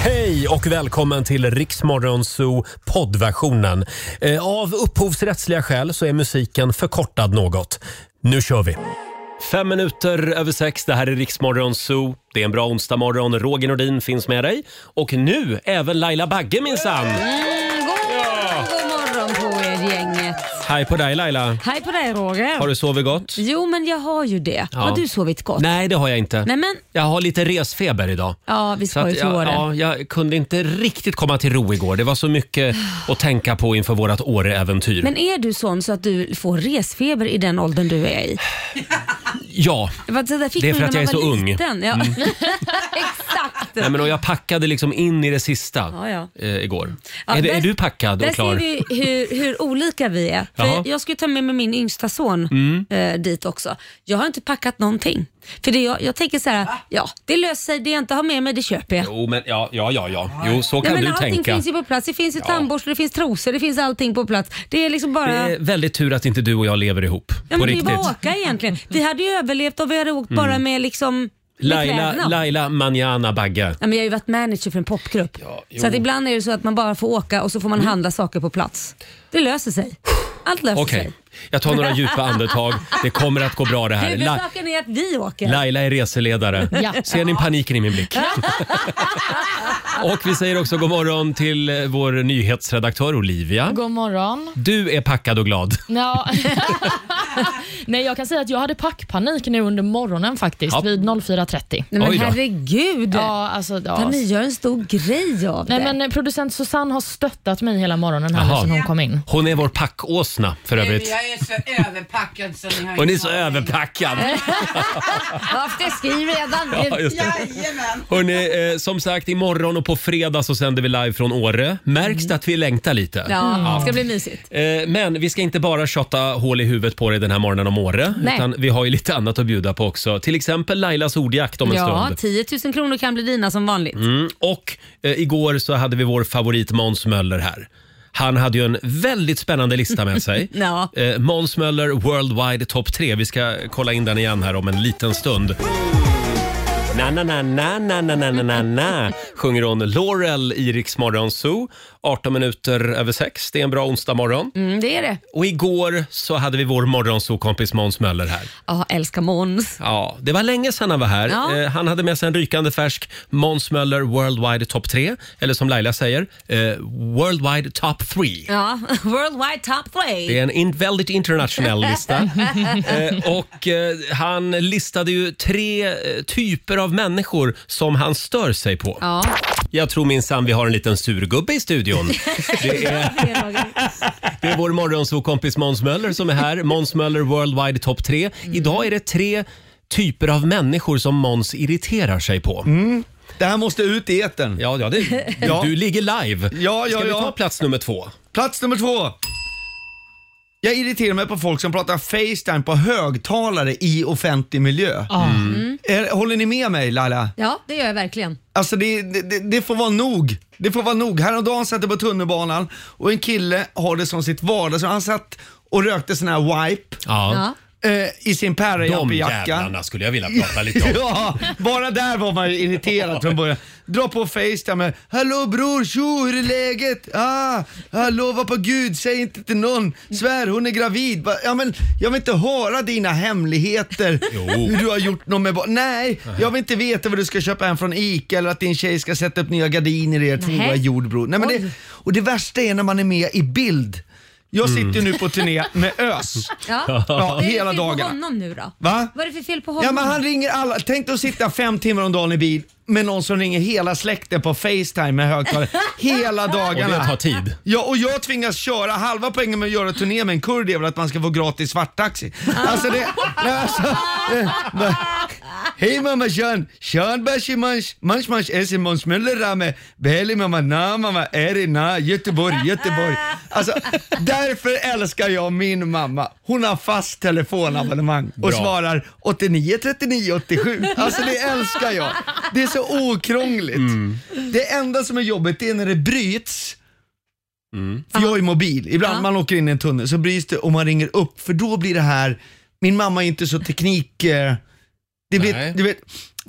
Hej och välkommen till Riksmorgonzoo poddversionen. Eh, Av upphovsrättsliga skäl så är musiken förkortad något. Nu kör vi! Fem minuter över sex, det här är Riksmorgonzoo. Det är en bra onsdagmorgon. Roger Nordin finns med dig. Och nu även Laila Bagge minsann! Mm, god, morgon, god morgon på er gänget. Hej på dig Laila! Hej på dig Roger. Har du sovit gott? Jo men jag har ju det. Ja. Har du sovit gott? Nej, det har jag inte. Nej, men, Jag har lite resfeber idag. ja vi Så ska ju att till jag, Åre. ja, jag kunde inte riktigt komma till ro igår. Det var så mycket att tänka på inför vårt Åre-äventyr. Men är du sån så att du får resfeber i den åldern du är i? Ja, Vad- Det, där fick Det är man för ju att när jag är man var så ung. Mm. liten. Ja. Exakt. Nej, men och jag packade liksom in i det sista Ja, ja. Eh, igår. Ja, är, det- där- är du packad Där och klar? ser vi hur, hur olika vi är. Jaha. Mm. För jag skulle ta med mig min yngsta son eh, dit också. Jag har inte packat någonting. För det, jag, jag tänker så här, ja det löser sig, det jag inte har med mig det köper jag. Jo, men ja, ja, ja, ja. Jo, så Nej, kan men du allting tänka. finns ju på plats. Det finns ju Ja. tandborstar, det finns trosor, det finns allting på plats. Det är liksom Det bara... är väldigt tur att inte du och jag lever ihop. Ja, på men det är riktigt. Mm. bara att åka egentligen. Vi hade ju överlevt om vi hade åkt bara med liksom... med Laila, kläderna. Laila Manjana Bagge. Ja, men jag har ju varit manager för en popgrupp. jo. Mm. så att ibland är det så att man bara får åka och så får man handla saker på plats. Det löser sig. Allt löser Okej, sig. jag tar några djupa andetag. Det kommer att gå bra det här. La- Huvudsaken är att vi åker. Laila är reseledare. Ja. Ser ni paniken i min blick? och vi säger också god morgon till eh, vår nyhetsredaktör Olivia. God morgon. Du är packad och glad. Ja. Nej, jag kan säga att jag hade packpanik nu under morgonen faktiskt, Ja. vid 04.30. Nej, men Oj då. herregud. Ja, alltså, ja. Kan ni göra en stor grej av Nej, det? men eh, Producent Susanne har stöttat mig hela morgonen här Jaha. nu sen hon kom in. Hon är vår packåsna för övrigt. Jag är så överpackad så ni har Hon är ingen så aning. överpackad. Afterski redan nu. Ja, just det. Jajamän. Hörrni, eh, som sagt, imorgon och på fredag så sänder vi live från Åre. Märks det att vi längtar lite? Mm. Ja, det ska bli mysigt. Eh, Men vi ska inte bara tjata hål i huvudet på dig den här morgonen om Åre. Nej. Utan vi har ju lite annat att bjuda på också. Till exempel Lailas ordjakt om en Ja, stund. 10 000 kronor kan bli dina som vanligt. Mm, Och eh, igår så hade vi vår favorit Måns Möller här. Han hade ju en väldigt spännande lista med sig. Ja. eh, Måns Möller Worldwide Top 3. Vi ska kolla in den igen här om en liten stund. Na, na, na, na, na, na, na, na, na, na, sjunger hon Laurel i Rix Morgon Zoo. 18 minuter över sex. Det är en bra onsdag morgon. Mm, det är det. Och igår så hade vi vår morgonzoo-kompis Måns Möller här. Ja, älskar Måns. Ja, det var länge sedan han var här. Ja. Eh, han hade med sig en rykande färsk Måns Möller Worldwide Top 3. Eller som Laila säger, eh, Worldwide Top 3. Ja, worldwide top Det three. är en in, väldigt internationell lista. eh, och eh, Han listade ju tre eh, typer av människor som han stör sig på. Ja, Jag tror minsann vi har en liten surgubbe i studion. Det är, det är Roger. det är vår morgonsokompis Måns Möller som är här. Måns Möller Worldwide Top 3. Idag är det tre typer av människor som Måns irriterar sig på. Det här måste ut i etern. Ja, ja, det, Ja. du ligger live. Ja, ja, Ska vi ja. ta plats nummer två? Plats nummer två. Jag irriterar mig på folk som pratar Facetime på högtalare i offentlig miljö. Ja. Mm. Är- Håller ni med mig Laila? ja, det gör jag verkligen. Alltså det, det, det får vara nog. Det får vara nog. Häromdagen satt jag på tunnelbanan och en kille har det som sitt vardag. Så han satt och rökte sån här wipe Ja. eh, i sin De Pärrejumperjacka. jävlarna skulle jag vilja prata lite om. Ja, bara där var man ju irriterad från början. Dra på Facetime med “Hallå bror, tjo, hur är läget? Ah, jag lovar på gud, säg inte till någon. Svär, hon är gravid. Va- Ja, men, jag vill inte höra dina hemligheter. Jo. Hur du har gjort något med barn. Nej, jag vill inte veta vad du ska köpa hem från ICA eller att din tjej ska sätta upp nya gardiner i ert Nähä. stora jordbror. Nej, men det, Oj. och det värsta är när man är med i bild. Jag sitter ju nu på turné med Ös. Ja. Ja, Vad är det hela för fel på dagarna. honom nu då? Va? Vad är det för fel på honom? Ja men han ringer alla. Tänk dig att sitta fem timmar om dagen i bil med någon som ringer hela släkten på Facetime med högtalare hela Och det tar dagarna. tid. Ja, och jag tvingas köra. Halva poängen med att göra turné med en kurd är väl att man ska få gratis svarttaxi. Alltså det... Nej, alltså, eh, va- Hej mamma Sean, Sean Bashi Munch, Munch Munch Essie Måns Möller Rame, Beli mamma Na mamma Eri Na, Göteborg, Göteborg. Alltså, därför älskar jag min mamma. Hon har fast telefonabonnemang och Bra. svarar 89 39 87. Alltså det älskar jag. Det är så okrångligt. Det enda som är jobbigt är när det bryts. För jag är mobil. Ibland Ja. man åker in i en tunnel så bryts det och man ringer upp för då blir det här, min mamma är inte så teknik... Eh, Det Nej. Mm. blir, du vet,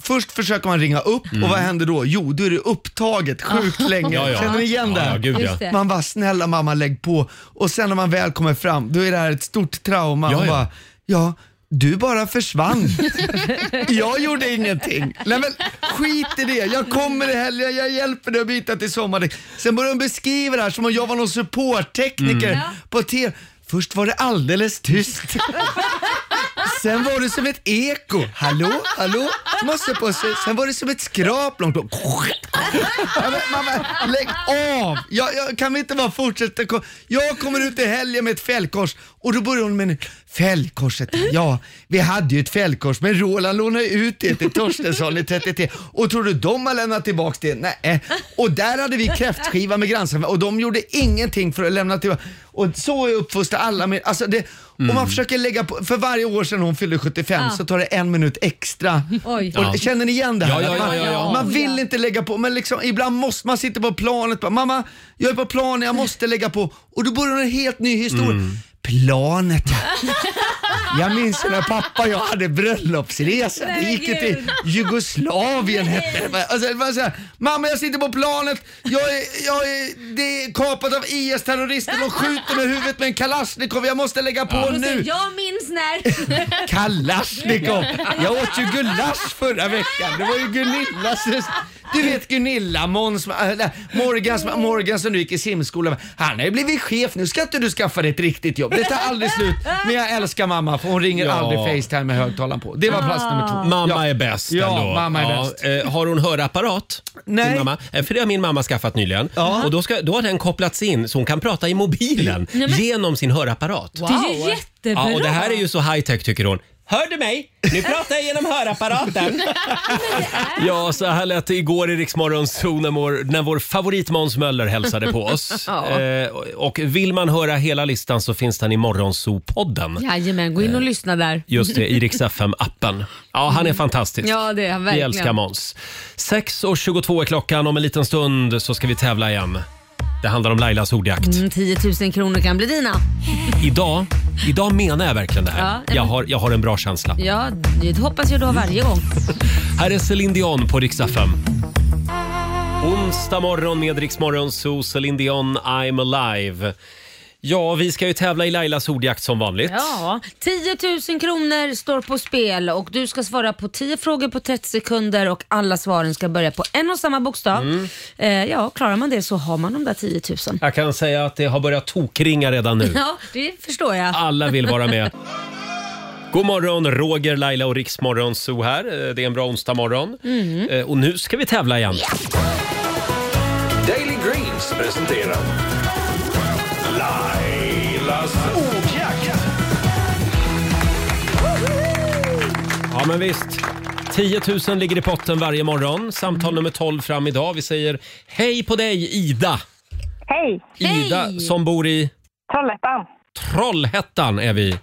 först försöker man ringa upp och vad händer då? Jo, då är det upptaget sjukt länge. Ja, ja. Känner ni igen det? Ja, ja, gud ja. Just det. Man bara, snälla mamma lägg på. Och sen när man väl kommer fram, då är det här ett stort trauma. Ja, och ja. Bara, ja, du bara försvann. jag gjorde ingenting. Nej men skit i det, jag kommer i helgen, jag hjälper dig att byta till sommardäck. Sen börjar hon beskriva det här som om jag var någon supporttekniker Mm. på TV. Först var det alldeles tyst. Sen var det som ett eko. Hallå, hallå, måste på sig. Sen var det som ett skrap långt bort. Ja, men Mamma, lägg av! Jag, jag, kan vi inte bara fortsätta? ko- Jag kommer ut i helgen med ett fällkors och då börjar hon med nu, fällkorset. Ja, vi hade ju ett fällkors men Roland lånade ut det till Torstensson i 33 och tror du de har lämnat tillbaka det? Nej. Och där hade vi kräftskiva med grannsamma och de gjorde ingenting för att lämna tillbaka. Och så är uppfostrar alla. Med, alltså det, Och man försöker lägga på, för varje år sedan hon fyllde 75 Mm. Ja. så tar det en minut extra. Oj. Och, Känner ni igen det här? Ja, ja, ja, ja, ja. Man vill Ja. inte lägga på, men liksom, ibland måste man sitta på planet bara, mamma jag är på planet, jag måste lägga på. Och då börjar en helt ny historia. Mm. Planet ja. Jag minns när pappa och jag hade bröllopsresa. Vi Nej, gick ju Gud. till Jugoslavien hette det. Alltså, det var så här, Mamma jag sitter på planet, jag är, jag är, det är kapat av IS-terrorister, de skjuter mig i huvudet med en kalasjnikov, jag måste lägga på Och så, nu. jag minns när. Kalasjnikov! liksom. Jag åt ju gulasch förra veckan. Det var ju Gunillas Du vet Gunilla, Måns, äh, Morgans, Morgan som nu gick i simskolan. Han har ju blivit chef, nu ska inte du skaffa dig ett riktigt jobb. Det tar aldrig slut. Men jag älskar mamma för hon ringer Ja. aldrig Facetime med högtalaren på. Det var plats nummer två. Mamma Ja. är bäst Ja, ändå. mamma är bäst. eh, har hon hörapparat? Nej. Din mamma? Eh, För det har min mamma skaffat nyligen. Ja. Och då, ska, då har den kopplats in så hon kan prata i mobilen Nej, men- genom sin hörapparat. Det är ju Wow. jättebra. Ja, och det här är ju så high tech tycker hon. Hör du mig? Nu pratar jag genom hörapparaten. ja, så här lät det igår i Riksmorgon Zoo när vår, när vår favorit Måns Möller hälsade på oss. eh, och vill man höra hela listan så finns den i Morgonzoo-podden. Jajamän, gå in Eh, och lyssna där. Just det, i Rix FM-appen. Ja, han är fantastisk. Ja, det är han verkligen. Vi älskar Måns. 6.22 är klockan. Om en liten stund så ska vi tävla igen. Det handlar om Lailas ordjakt. Mm, 10 000 kronor kan bli dina. Idag, idag menar jag verkligen det här. Ja, men- jag, har, jag har en bra känsla. Ja, det hoppas jag du har varje gång. Här är Céline Dion på Rix FM. Onsdag morgon med Rix Morgon, så Céline Dion, I'm alive. Ja, vi ska ju tävla i Lailas ordjakt som vanligt. Ja, 10 000 kronor står på spel och du ska svara på 10 frågor på 30 sekunder och alla svaren ska börja på en och samma bokstav. Eh, ja, klarar man det så har man de där 10 000. Jag kan säga att det har börjat tokringa redan nu. Ja, det förstår jag. Alla vill vara med. God morgon, Roger, Laila och Riksmorgon Zoo här. Eh, Det är en bra onsdag morgon. Eh, Och nu ska vi tävla igen. Daily Greens presenterar Lailas ordjakt. Ja, men visst. 10 000 ligger i potten varje morgon. Samtal nummer 12 fram idag. Vi säger hej på dig, Ida. Hej, Ida som bor i Trollhättan. Trollhättan är vi.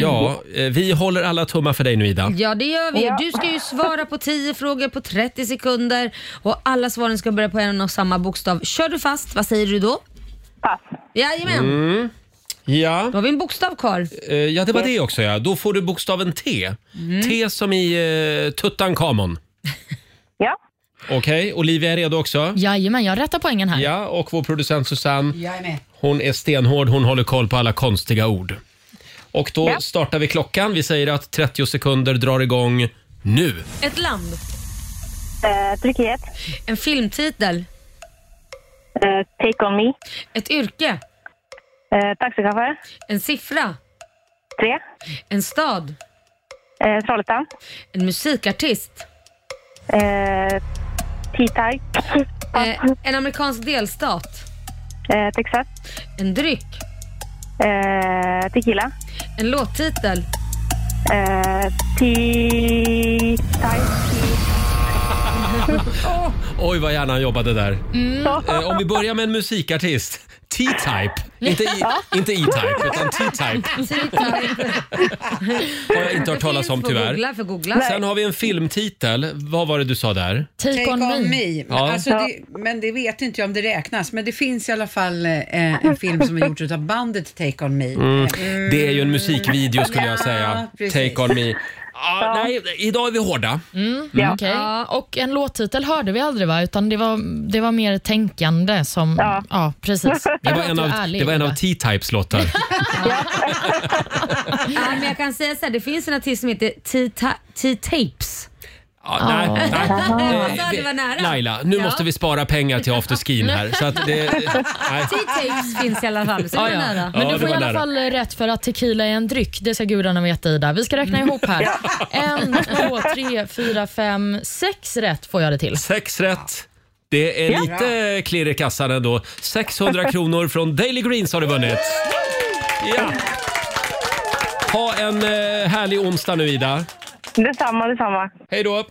Ja, eh, vi håller alla tummar för dig nu, Ida. Ja, det gör vi. Ja. Du ska ju svara på 10 frågor på 30 sekunder och alla svaren ska börja på en och samma bokstav. Kör du fast, vad säger du då? Pass. Jajamän, Ja, då har vi en bokstav kvar. eh, ja det var det också. Ja. Då får du bokstaven T. T som i eh, Tutankhamon. Ja, Okej, Olivia är redo också. Jajamän, jag rättar poängen här. Ja, och vår producent Susanne, Jag är med. hon är stenhård, hon håller koll på alla konstiga ord. Och då Ja. startar vi klockan. Vi säger att 30 sekunder drar igång nu. Ett land, eh, Turkiet. en filmtitel, Eh, take on me. ett yrke, Eh, taxichaufför. en siffra, Tre. en stad, Eh, Trollhättan. en musikartist, Eh, T-Type. Pass. eh, en amerikansk delstat, Eh, Texas. en dryck, Eh, tequila. en låttitel, Eh, T-Type. Oj, vad gärna han jobbade där. Eh, om vi börjar med en musikartist. T-Type. Inte, I, inte E-Type, utan T-Type. Har jag inte hört talas om Finns på tyvärr. Googla för googla. Sen har vi en filmtitel. Vad var det du sa där? Take, Take on, me. Ja. Alltså det, men det vet inte jag om det räknas. Men det finns i alla fall eh, en film som är gjord av bandet Take On Me. Mm. Det är ju en musikvideo skulle jag Ja, säga. precis. Take On Me. Ja, nej, idag är vi hårda. Mm. Ja. Okej. Och en låttitel hörde vi aldrig va? Utan det var, det var mer tänkande som... Ja, Ja. precis. Det var en av, det var en av T-Types låtar. Ja, men jag kan säga så här, det finns en artist som heter T-ta- T-Tapes. Ja, nej, nej. Jag sa att det var nära. Laila, nu Ja. måste vi spara pengar till afterskin här. Så att det, nej. T-Tapes finns i alla fall, så det Ja, var ja. nära. Men Ah, Ja, du det får i var alla nära. fall rätt för att tequila är en dryck. Det ska gudarna veta Ida. Vi ska räkna ihop här. En, två, tre, fyra, fem, sex rätt får jag det till. Sex rätt. Det är lite klirr i kassan ändå. 600 kronor från Daily Greens har du vunnit. Ja. Ha en eh, härlig onsdag nu Ida. Detsamma, detsamma. Hej då.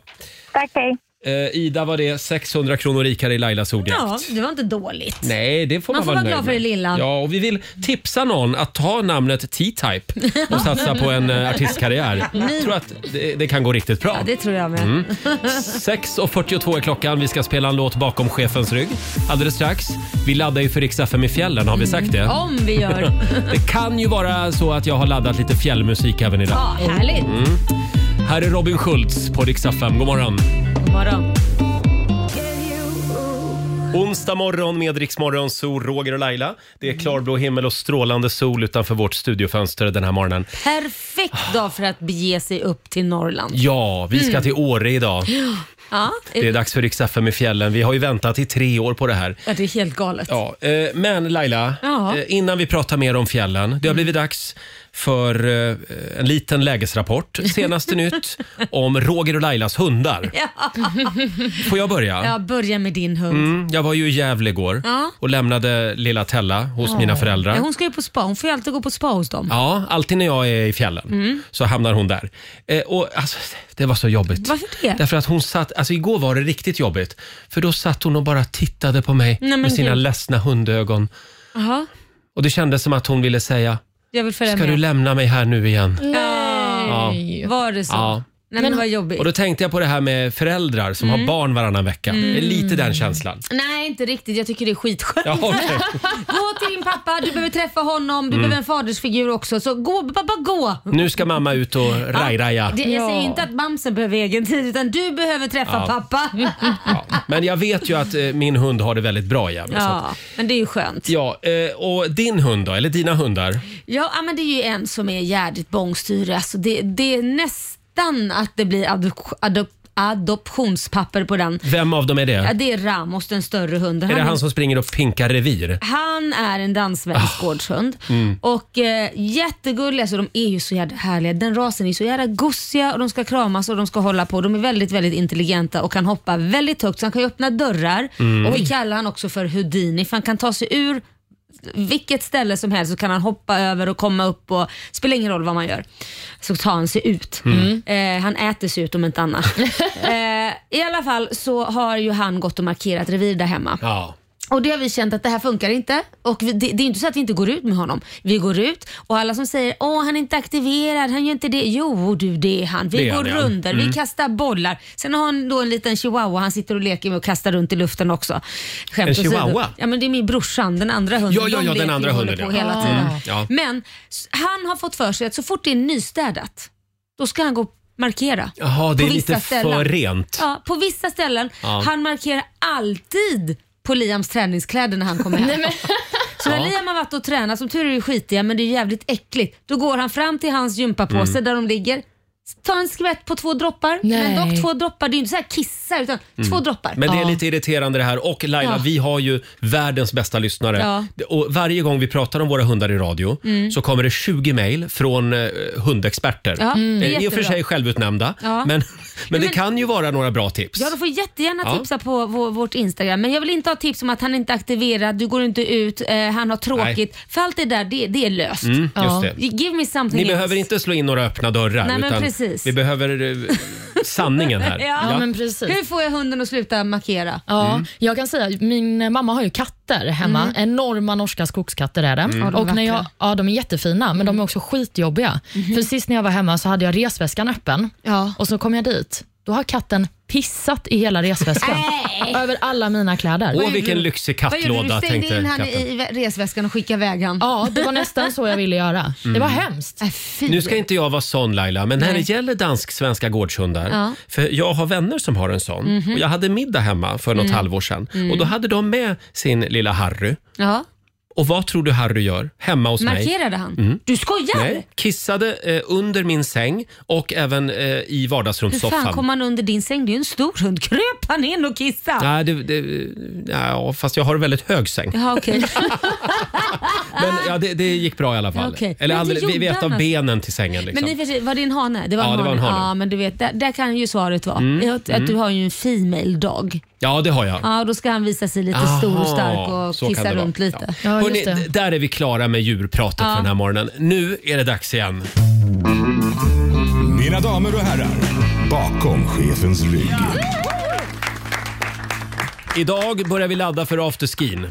Tack, Tak, hej. Eh, Ida var det 600 kronor rikare i Lailas ordjakt. Ja, det var inte dåligt. Nej, det får man, Man får vara nöjd glad för med. det lilla. Ja, och vi vill tipsa någon att ta namnet T-Type och satsa på en eh, artistkarriär. Jag tror att det, det kan gå riktigt bra. Ja, det tror jag med. Mm. 6.42 är klockan. Vi ska spela en låt bakom chefens rygg alldeles strax. Vi laddar ju för Rix FM i fjällen, Mm. har vi sagt det? Om vi gör. Det kan ju vara så att jag har laddat lite fjällmusik även idag. Ja, härligt. Mm. Här är Robin Schultz på Rix FM. God morgon! God morgon. Onsdag morgon med Rix Morgon, så Roger och Laila. Det är klarblå himmel och strålande sol utanför vårt studiofönster den här morgonen. Perfekt dag för att bege sig upp till Norrland. Ja, vi ska Mm. till Åre idag. Ja, Det är det, dags för Rix FM i fjällen. Vi har ju väntat i tre år på det här. ja, det är helt galet. Ja, eh, men Laila, Ja. eh, innan vi pratar mer om fjällen. Det har blivit dags för eh, en liten lägesrapport. Senaste nytt om Roger och Lailas hundar. Får jag börja? Jag börjar med din hund. Mm, jag var ju i Gävle igår Ja. och lämnade lilla Tella hos mina föräldrar. Ja, hon ska ju på spa. Hon får ju alltid gå på spa hos dem. Ja, alltid när jag är i fjällen Mm. så hamnar hon där. Eh, och alltså, det var så jobbigt. Varför det? Därför att hon satt, alltså igår var det riktigt jobbigt. För då satt hon och bara tittade på mig Nej, men med sina gud. ledsna hundögon. Jaha, Och det kändes som att hon ville säga, jag vill följa ska med. du lämna mig här nu igen? Nej. Var det så? Ja. Nej, men det var Och jobbigt. då tänkte jag på det här med föräldrar som Mm. har barn varannan vecka. Det är lite den känslan. Nej, inte riktigt. Jag tycker det är skitskönt. Ja, okej. Gå till din pappa, du behöver träffa honom, Mm. du behöver en fadersfigur också. Så gå, pappa gå! Nu ska mamma ut och rajraja. Det, jag Ja. säger inte att mamsen behöver egen tid utan du behöver träffa Ja. pappa. Ja. Men jag vet ju att eh, min hund har det väldigt bra i Gävle. så att- Ja, men det är ju skönt. Ja, eh, och din hund då? Eller dina hundar? Ja, ja, men det är ju en som är jädrigt bångstyrig. Alltså det, det är nästan att det blir adop, adop, adoptionspapper på den. Vem av dem är det? Ja, det är Ramos, den större hunden. Är det han som springer och pinkar revir? Han är en dansvänsk gårdshund och eh, jättegulliga. Alltså, de är ju så jävla härliga. Den rasen är så jävla gosiga och de ska kramas och de ska hålla på. De är väldigt, väldigt intelligenta och kan hoppa väldigt högt så han kan ju öppna dörrar. Och vi kallar han också för Houdini för han kan ta sig ur vilket ställe som helst så kan han hoppa över och komma upp och spelar ingen roll vad man gör. Så tar han sig ut. Eh, han äter sig ut om inte annat. eh, I alla fall så har ju han gått och markerat revir där hemma. Ja. Och det har vi känt att det här funkar inte. Och vi, det, det är inte så att vi inte går ut med honom. Vi går ut och alla som säger åh han är inte aktiverad, han gör inte det. Jo du det är han. Vi Det är går han, ja. Mm. runder, vi kastar bollar. Sen har han då en liten chihuahua han sitter och leker med och kastar runt i luften också. Skämt En åsido. chihuahua? Ja men det är min brorsan, den andra hunden. Ja, ja, De ja, den leker andra och håller hunden, på ja. hela Ah. tiden. Mm, ja. Men s- han har fått för sig att så fort det är nystädat, då ska han gå och markera. Jaha, det På är vissa lite ställen. för rent. Ja, på vissa ställen. Ja. Han markerar alltid på Liams träningskläder när han kommer hem. Så när Ja. Liam har varit och tränat, som tur är det skitiga men det är jävligt äckligt. Då går han fram till hans gympapåse Mm. där de ligger, tar en skvätt på två droppar. Nej. Men dock två droppar, det är ju inte så här kissa utan två droppar. Mm. Men det är Ja. lite irriterande det här. Och Laila, Ja. vi har ju världens bästa lyssnare. Ja. Mm. Och varje gång vi pratar om våra hundar i radio så kommer det 20 mejl från eh, hundexperter. Ja, Mm. det är Eh, I och för jättebra. sig självutnämnda, Ja. men, men det men- kan ju vara några bra tips. Ja, de får jättegärna Ja. tipsa på vår, vårt Instagram. Men jag vill inte ha tips om att han inte är aktiverad, du går inte ut, eh, han har tråkigt. För allt det där, det, det är löst. Mm, just Ja. det. Give me something Ni else. behöver inte slå in några öppna dörrar. Nej, men utan precis. Vi behöver eh, sanningen här. Ja. Ja, men precis. Hur får jag hunden att sluta markera? Ja, Jag kan säga, min mamma har ju katter hemma. Enorma norska skogskatter är det. Ja, de är Och när jag, vackra. ja, de är jättefina, men de är också skitjobbiga. För sist när jag var hemma så hade jag resväskan öppen Ja. och så kom jag dit då har katten pissat i hela resväskan. Nej. Över alla mina kläder. Åh, vilken lyxig Vad gjorde du? kattlåda Du stängde tänkte in han katten. i vä- resväskan och skickade iväg han? Ja, det var nästan så jag ville göra. Det var hemskt. Äh, fy. Nu ska inte jag vara sån Laila, men när det Nej. gäller dansk-svenska gårdshundar. Ja. Mhm. För jag har vänner som har en sån. Och jag hade middag hemma för Mm. något halvår sedan. Och då hade de med sin lilla Harry. Ja. Och vad tror du Harry gör hemma hos mig? Mhm. Markerade han? Du skojar? Nej, kissade eh, under min säng och även eh, i Hur fan vardagsrumssoffan. kom han under din säng? Det är ju en stor hund. Kröp han in och kissade? Nej, det, det, nej, ja, fast jag har en väldigt hög säng. Ja, okej. Liksom. Men ja, det, det gick bra i alla fall. Okej. Eller Men alldeles, det vi gjorde vet han av alltså. benen till sängen. Liksom. Men i och för sig, var det en hane? Det var Ja, en det var en hane. Mm. Ja, men du vet, där, där kan ju svaret vara. Att, att du har ju en female-dag. Ja, det har jag. Ja, då ska han visa sig lite Aha, stor och stark så och kan kissa det vara. runt lite. Ja. Ja, just Hörrni, det. d- där är vi klara med djurpratet för den här morgonen. Nu är det dags igen. Mina damer och herrar, bakom chefens rygg. Idag börjar vi ladda för afterskin.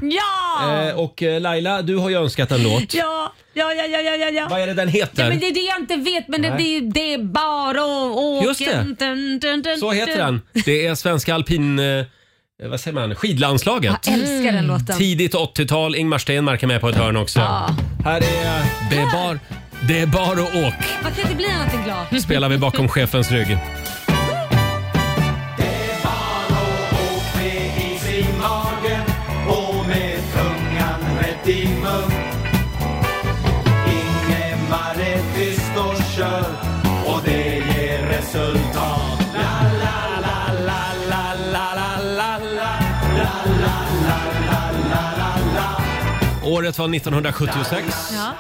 Ja! Eh, och eh, Laila, du har ju önskat en låt. Ja, ja, ja, ja, ja, ja. ja. Vad är det den heter? Ja, men det är det jag inte vet, men det, det, är ju- det är bara och åken. Just det. Dun, dun, dun, Så heter dun. den. Det är svenska alpin... Eh, vad säger man? Skidlandslaget. Jag älskar den låten. Tidigt 80-tal. Ingmar Stenmark är med på ett hörn också. Här är... Det är bar... Det är bar och åk. Man kan inte bli annat än glad. spelar vi bakom chefens rygg. Året var 1976. Ja.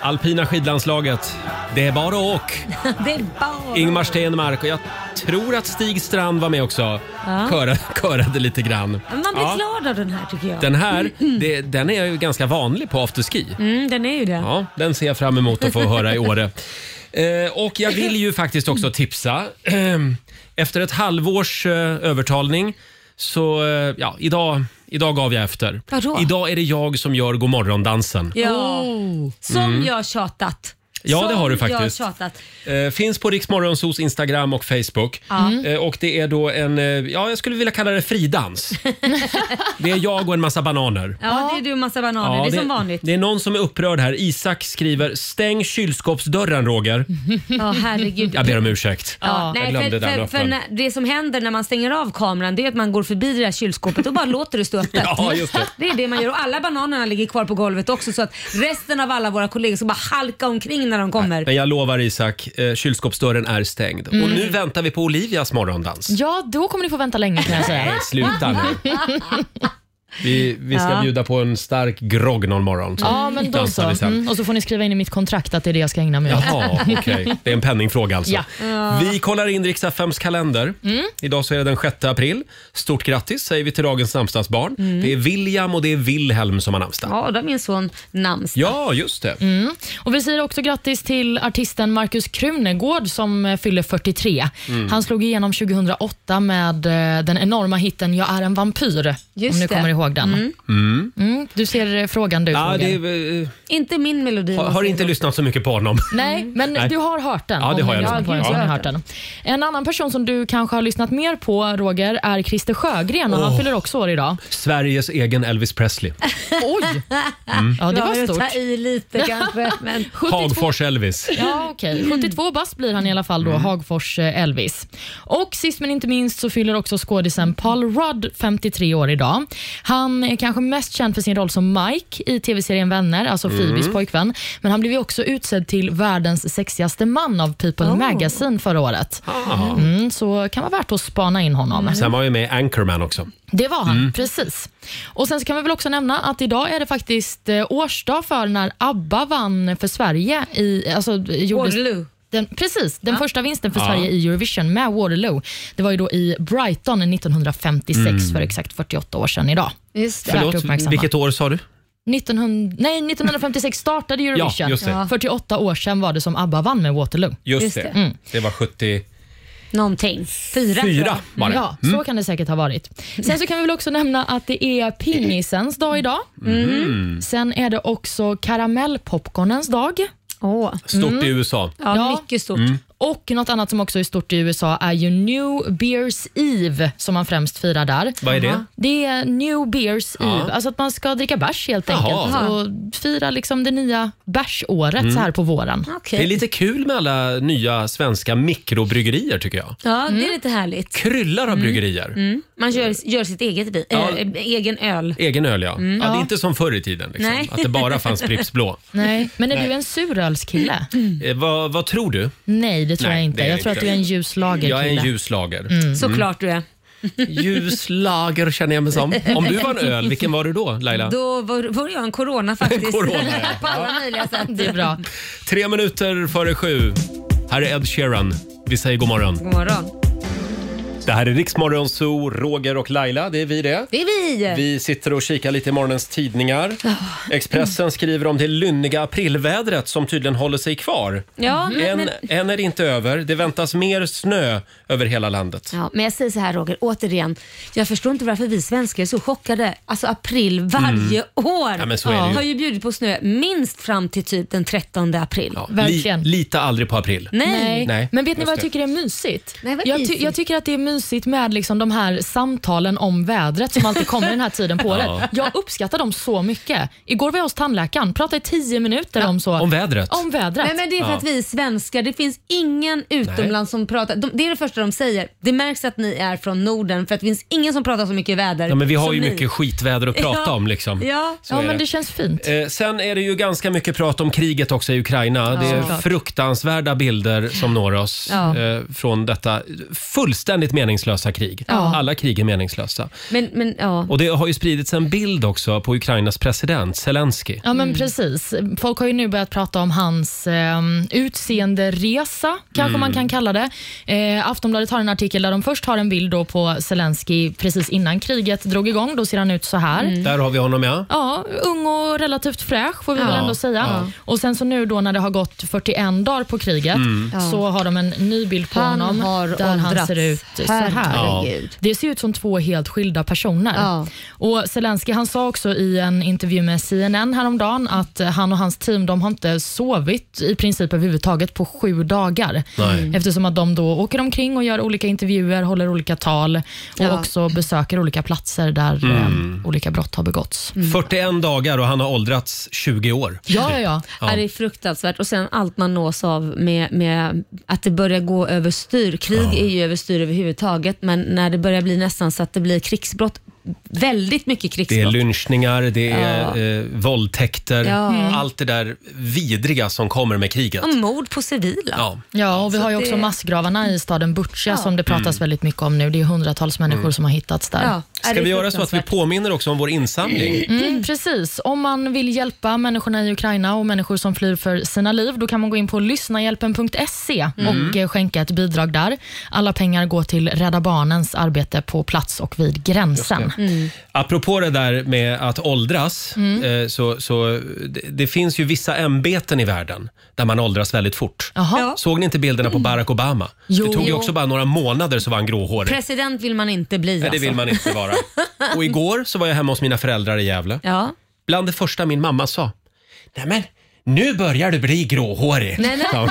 Alpina skidlandslaget. Det är bara åk. Det är bara... Ingmar Stenmark och jag tror att Stig Strand var med också. Köra, körade lite grann. Men Man blir Ja. glad av den här tycker jag. Den, Den här, det, den är ju ganska vanlig på afterski. mm, den är ju det. Ja, den ser jag fram emot att få höra i Åre. Eh, och jag vill ju faktiskt också tipsa. Ehm, Efter ett halvårs eh, övertalning så, eh, ja, idag, idag gav jag efter. Vadå? Idag är det jag som gör godmorgondansen. Ja. Som jag tjatat. Oh. Mm. Ja, Som det har du faktiskt. Jag tjatat. Eh, finns på Riksmorgonsos Instagram och Facebook. Mm. Eh, och det är då en, eh, ja jag skulle vilja kalla det fridans. det är jag och en massa bananer. Ja, det är du och massa bananer. det är som vanligt. det är någon som är upprörd här. Isak skriver “Stäng kylskåpsdörren Roger”. Ja, herregud. Jag ber om ursäkt. Mm. Ja, nej, glömde för, den för, för öppnaren. när, det som händer när man stänger av kameran det är att man går förbi det där kylskåpet och bara låter det stå öppet. Ja, just det. är det man gör och alla bananerna ligger kvar på golvet också så att resten av alla våra kollegor ska bara halka omkring när de kommer. Men jag lovar Isak, eh, kylskåpsdörren är stängd. Mm. Och nu väntar vi på Olivias morgondans. Ja, då kommer ni få vänta länge kan jag säga. Nej, sluta nu. Vi, vi ska Ja. bjuda på en stark grogg någon morgon. Ja, men då så. Dansar vi sen. Mm, och så får ni skriva in i mitt kontrakt att det är det jag ska ägna mig åt. Jaha, okej. Det är en penningfråga alltså. Ja. Vi kollar in Rix FMs kalender. Idag så är det den 6 april. Stort grattis säger vi till dagens namnsdagsbarn. Det är William och det är Wilhelm som har namnsdag. Ja, då har min son namnsdag. Ja, just det. Och Vi säger också grattis till artisten Markus Krunegård som eh, fyller 43. Mm. Han slog igenom 2008 med eh, den enorma hitten “Jag är en vampyr”, Just om ni det. kommer ihåg den. Mm, du ser eh, frågande ut, Ja, Roger. det är, eh, Inte min melodi. har, har Mm. inte lyssnat så mycket på honom. Nej, men du har hört den. Mm. Ja, det Om har jag ni nog. lyssnar på den så Ja. har ni hört den. En annan person som du kanske har lyssnat mer på, Roger, är Christer Sjögren och han fyller också år idag. Sveriges egen Elvis Presley. Oj! Ja, det var stort. Ta i lite kanske. Men 72 Hagfors Elvis. Ja, okej. 72 bast blir han i alla fall då, Hagfors eh, Elvis. Och sist men inte minst så fyller också skådisen Paul Rudd 53 år idag. Han är kanske mest känd för sin roll som Mike i tv-serien Vänner, alltså Phoebes pojkvän. Men han blev ju också utsedd till världens sexigaste man av People Magazine förra året. Ah. Mm, så kan vara värt att spana in honom. Sen var ju med i Anchorman också. Det var han, Mm. precis. Och Sen så kan vi väl också nämna att idag är det faktiskt eh, årsdag för när ABBA vann för Sverige. I, alltså, gjordes, Waterloo. den, precis, den första vinsten för Sverige i Eurovision med Waterloo. Det var ju då i Brighton 1956 Mm. för exakt 48 år sedan idag. Just det. Värt att Förlåt, uppmärksamma. vilket år sa du? 1900, nej, 1956 startade Eurovision. just det. Ja. 48 år sedan var det som ABBA vann med Waterloo. Just, Just det. det. Det var 74 Någonting. Fyra. tror jag. var det. Mm. Ja, så kan det säkert ha varit. Sen så kan vi väl också nämna att det är pingisens dag idag. Mm. Sen är det också karamellpopcornens dag. Åh. Stort i USA. Ja, Ja. Mm. mycket stort. Och något annat som också är stort i USA är ju New Beers Eve som man främst firar där. Vad är det? Jaha. Det är New Beers Eve, alltså att man ska dricka bärs helt Jaha. Mm. enkelt och fira liksom det nya bärsåret så här på våren. Okej. Det är lite kul med alla nya svenska mikrobryggerier tycker jag. Ja, det är lite härligt. Kryllar Mm. av bryggerier. Man gör, gör sitt eget vin, Ja. eh, egen öl. Egen öl ja. ja. Det är Ja. inte som förr i tiden, liksom, Mm. Nej. att det bara fanns Pripps Blå. Nej. Men är du en surölskille? Mm. Eh, vad, vad tror du? Nej, det tror Nej, jag inte. det är Jag tror inte. att du är en ljus lagerkille. Jag är en ljus lager. Mm. Såklart du är. Ljus lager känner jag mig som. Om du var en öl, vilken var du då Laila? Då var, var jag en corona faktiskt. Corona, ja. På alla möjliga sätt. Det är bra. Tre minuter före sju. Här är Ed Sheeran. Vi säger god morgon. God morgon. Det här är Riksmorgon Zoo, Roger och Laila. Det är vi det. Det är vi. Vi sitter och kikar lite i morgonens tidningar. Ah. Expressen skriver om det lynniga aprilvädret som tydligen håller sig kvar. Ja, men, Än, Mm, men, än är det inte över. Det väntas mer snö över hela landet. ja, men jag säger så här Roger, återigen. Jag förstår inte varför vi svenskar är så chockade. Alltså april varje år Mm. Ja, men så är det ju. har ju bjudit på snö minst fram till typ den 13 april. Ja, Verkligen. lita aldrig på april. Nej. Nej. Nej, men vet ni just vad det. jag tycker är mysigt? Nej, vad jag, mysigt. ty- jag tycker att det är mysigt med liksom de här samtalen om vädret som alltid kommer den här tiden på året. Jag uppskattar dem så mycket. Igår var jag hos tandläkaren, pratade i tio minuter om så. Om vädret. Om vädret. Nej, men det är för Ja. att vi är svenskar. Det finns ingen utomlands som pratar. De, det är det första de säger. Det märks att ni är från Norden för att det finns ingen som pratar så mycket väder Ja, men vi har som ju ni. mycket skitväder att prata Ja. om. Liksom. Ja. Så ja, är men det. det känns fint. Eh, sen är det ju ganska mycket prat om kriget också i Ukraina. det är såklart. fruktansvärda bilder som når oss Ja. eh, från detta fullständigt meningslösa krig. Alla krig är meningslösa. Men, men ja. Och det har ju spridits en bild också på Ukrainas president Mm. Zelensky. Ja, men precis. Folk har ju nu börjat prata om hans eh, utseenderesa, kanske Mm. man kan kalla det. Eh, Aftonbladet har en artikel där de först har en bild då på Zelensky precis innan kriget drog igång. Då ser han ut så här. Där har vi honom ja. Ja, ung och relativt fräsch får vi väl ändå säga. Och sen så nu då när det har gått 41 dagar på kriget så har de en ny bild på Han honom har där han åldrats. ser ut så här. Herregud. Det ser ut som två helt skilda personer. Ja. Och Zelensky han sa också i en intervju med CNN häromdagen att eh, han och hans team de har inte sovit i princip överhuvudtaget på sju dagar. Mm. Nej. Eftersom att de då åker omkring och gör olika intervjuer, håller olika tal och Ja. också besöker olika platser där eh, olika brott har begåtts. 41 dagar och han har åldrats 20 år. Ja, ja, ja. Mm. Ja. Det är fruktansvärt. Och sen allt man nås av med, med att det börjar gå överstyr. Krig är ju överstyr överhuvudtaget, men när det börjar bli nästan så att det blir krigsbrott, väldigt mycket Det är krigsbrott. lynchningar, det är eh, våldtäkter, Ja. Mm. allt det där vidriga som kommer med kriget. Och mord på civila. Ja. Ja, och vi har ju också det- massgravarna i staden Butja som det pratas väldigt mycket om nu. Det är hundratals människor som har hittats där. Ja. Är Ska det vi göra så att vi fruktansvärt? påminner också om vår insamling? Mm, precis. Om man vill hjälpa människorna i Ukraina och människor som flyr för sina liv, då kan man gå in på lyssnahjälpen.se Mm. och eh, skänka ett bidrag där. Alla pengar går till Rädda Barnens arbete på plats och vid gränsen. Mm. Apropå det där med att åldras, eh, så, så det, det finns ju vissa ämbeten i världen där man åldras väldigt fort. Jaha. Ja. Mm. Såg ni inte bilderna på Barack Obama? det Jo. tog ju också bara några månader så var han gråhårig. President vill man inte bli. Nej, det vill alltså. man inte vara. Och igår så var jag hemma hos mina föräldrar i Gävle. Ja. Bland det första min mamma sa. Nej men, nu börjar du bli gråhårig. Nej, nej. sa hon.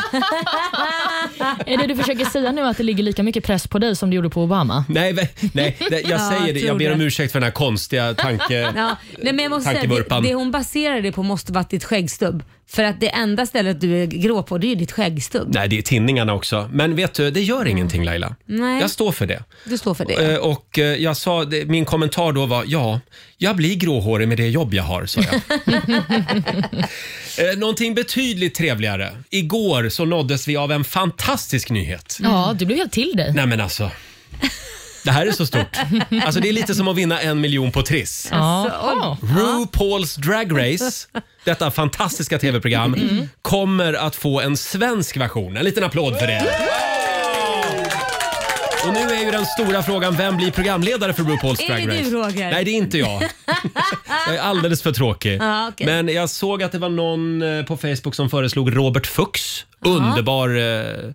Är det du försöker säga nu att det ligger lika mycket press på dig som det gjorde på Obama? Mm. Nej, nej, nej, det- jag Ja, säger det. Jag tror ber om det. ursäkt för den här konstiga tanke... Ja, nej, men jag måste säga, det, Tankevurpan. det hon baserar det på måste varit ditt skäggstubb. För att det enda stället du är grå på det är ju ditt skäggstubb. Nej, det är tinningarna också. Men vet du, det gör ingenting Laila. Nej. Jag står för det. Du står för det. Eh, Och eh, jag sa, det- min kommentar då var ja, jag blir gråhårig med det jobb jag har, sa jag. Eh, Någonting betydligt trevligare. Igår så nåddes vi av en fantastisk nyhet. Ja, du blev helt till dig. Nej men alltså. Det här är så stort. Alltså det är lite som att vinna en miljon på Triss. Alltså, Ja. RuPaul's Drag Race, detta fantastiska tv-program, Mm. kommer att få en svensk version. En liten applåd för det. Och nu är ju den stora frågan, vem blir programledare för RuPaul's Är Drag det Race? du, Roger? Nej, det är inte jag. jag är alldeles för tråkig. Ja, okej. Men jag såg att det var någon eh, på Facebook som föreslog Robert Fuchs. Underbar eh,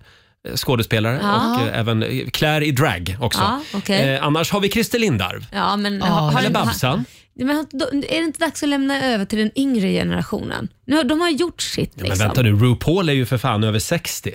skådespelare och eh, även eh, klär i drag också. Ja, okej. eh, annars har vi Christer Lindarw. Ja, men, Ja, har, Eller Babsan. Men då- är det inte dags att lämna över till den yngre generationen? Nu, har- de har gjort sitt. Men Liksom. Ja, vänta nu, RuPaul är ju för fan över 60.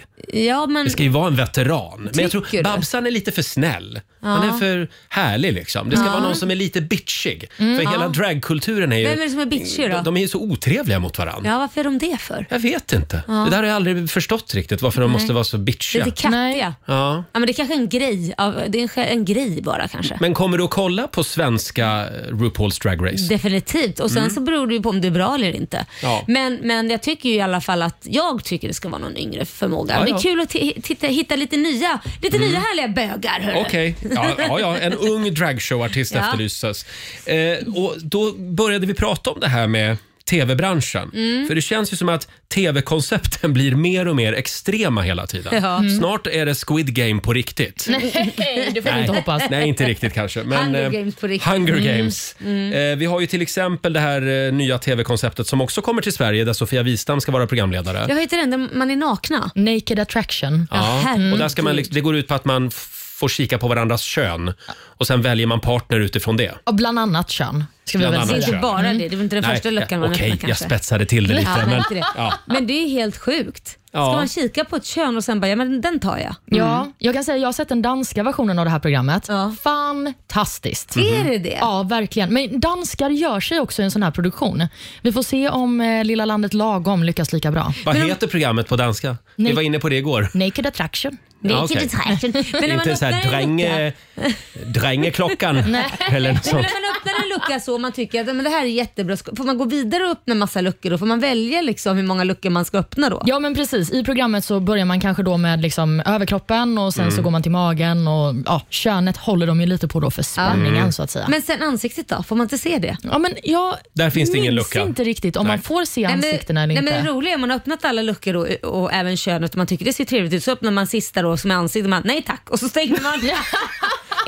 men, Det ska ju vara en veteran. Men jag tror Mm. Tycker du? Babsan är lite för snäll. Han är för härlig liksom. Det ska vara någon som är lite bitchig. för Mm. hela dragkulturen är ju... Vem är det som är bitchig då? De, de är ju så otrevliga mot varandra. ja, varför är de det för? Jag vet inte. Det där har jag aldrig förstått riktigt, varför de måste vara så bitchiga. Lite kattiga. Nej. Ja. Ja, men det är kanske är en grej, av, det är en, en grej bara kanske. Men kommer du att kolla på svenska eh, RuPaul's Drag Race? Definitivt. Och sen så beror det ju på om det är bra eller inte. Mm. Ja. Men, men jag tycker ju i alla fall att jag tycker det ska vara någon yngre förmåga. Ja, Det ja. Mm. är kul att ti- titta, hitta lite nya, lite nya härliga bögar. hörru. Okej, ja, ja, ja, en ung dragshowartist Ja. efterlyses. Eh, och då började vi prata om det här med tv-branschen. Mm. För det känns ju som att tv-koncepten blir mer och mer extrema hela tiden. Ja. Mm. Snart är det Squid Game på riktigt. Nej, det får vi inte hoppas. Nej, inte riktigt kanske. Men, Hunger eh, Games Mm. på riktigt. Hunger Games. Eh, vi har ju till exempel det här eh, nya tv-konceptet som också kommer till Sverige där Sofia Wistam ska vara programledare. Jag heter den där man är nakna. Naked attraction. Ja, herregud. och där ska man, liksom- det går ut på att man f- får kika på varandras kön och sen väljer man partner utifrån det. Och bland annat kön, ska vi Bland väl annat Det är säga. inte kön. bara det, det är väl inte den första luckan man Mm. Okej, öppnar jag kanske. spetsade till det lite. Ja, men, men, inte det. ja. men det är ju helt sjukt. Ja. Ska man kika på ett kön och sen bara, ja men den tar jag. Mm. Ja, jag kan säga jag har sett den danska versionen av det här programmet. Ja. Fantastiskt. Mm. Mhm. Är det det? Ja, verkligen. Men danskar gör sig också i en sån här produktion. Vi får se om eh, Lilla landet lagom lyckas lika bra. Vad heter programmet på danska? Vi Nej. var inne på det igår. Naked attraction. Det Ja, är okej. okay. Men när man Inte så här öppnar en lucka- dränge, drängeklockan eller något Men sånt. när man öppnar en lucka så och man tycker att men det här är jättebra, ska- får man gå vidare och öppna massa luckor då? Får man välja liksom hur många luckor man ska öppna då? Ja men precis, i programmet så börjar man kanske då med liksom överkroppen och sen Mm. så går man till magen och ja, könet håller de ju lite på då för spänningen Mm. så att säga. Men sen ansiktet då? Får man inte se det? ja, men jag Där finns det ingen minns lucka. inte riktigt om Nej. man får se Nej, men- ansiktena nej, eller men det inte. roliga är om man har öppnat alla luckor och, och även könet och man tycker det ser trevligt ut så öppnar man sista då som är ansiktet och man nej tack och så stänger man.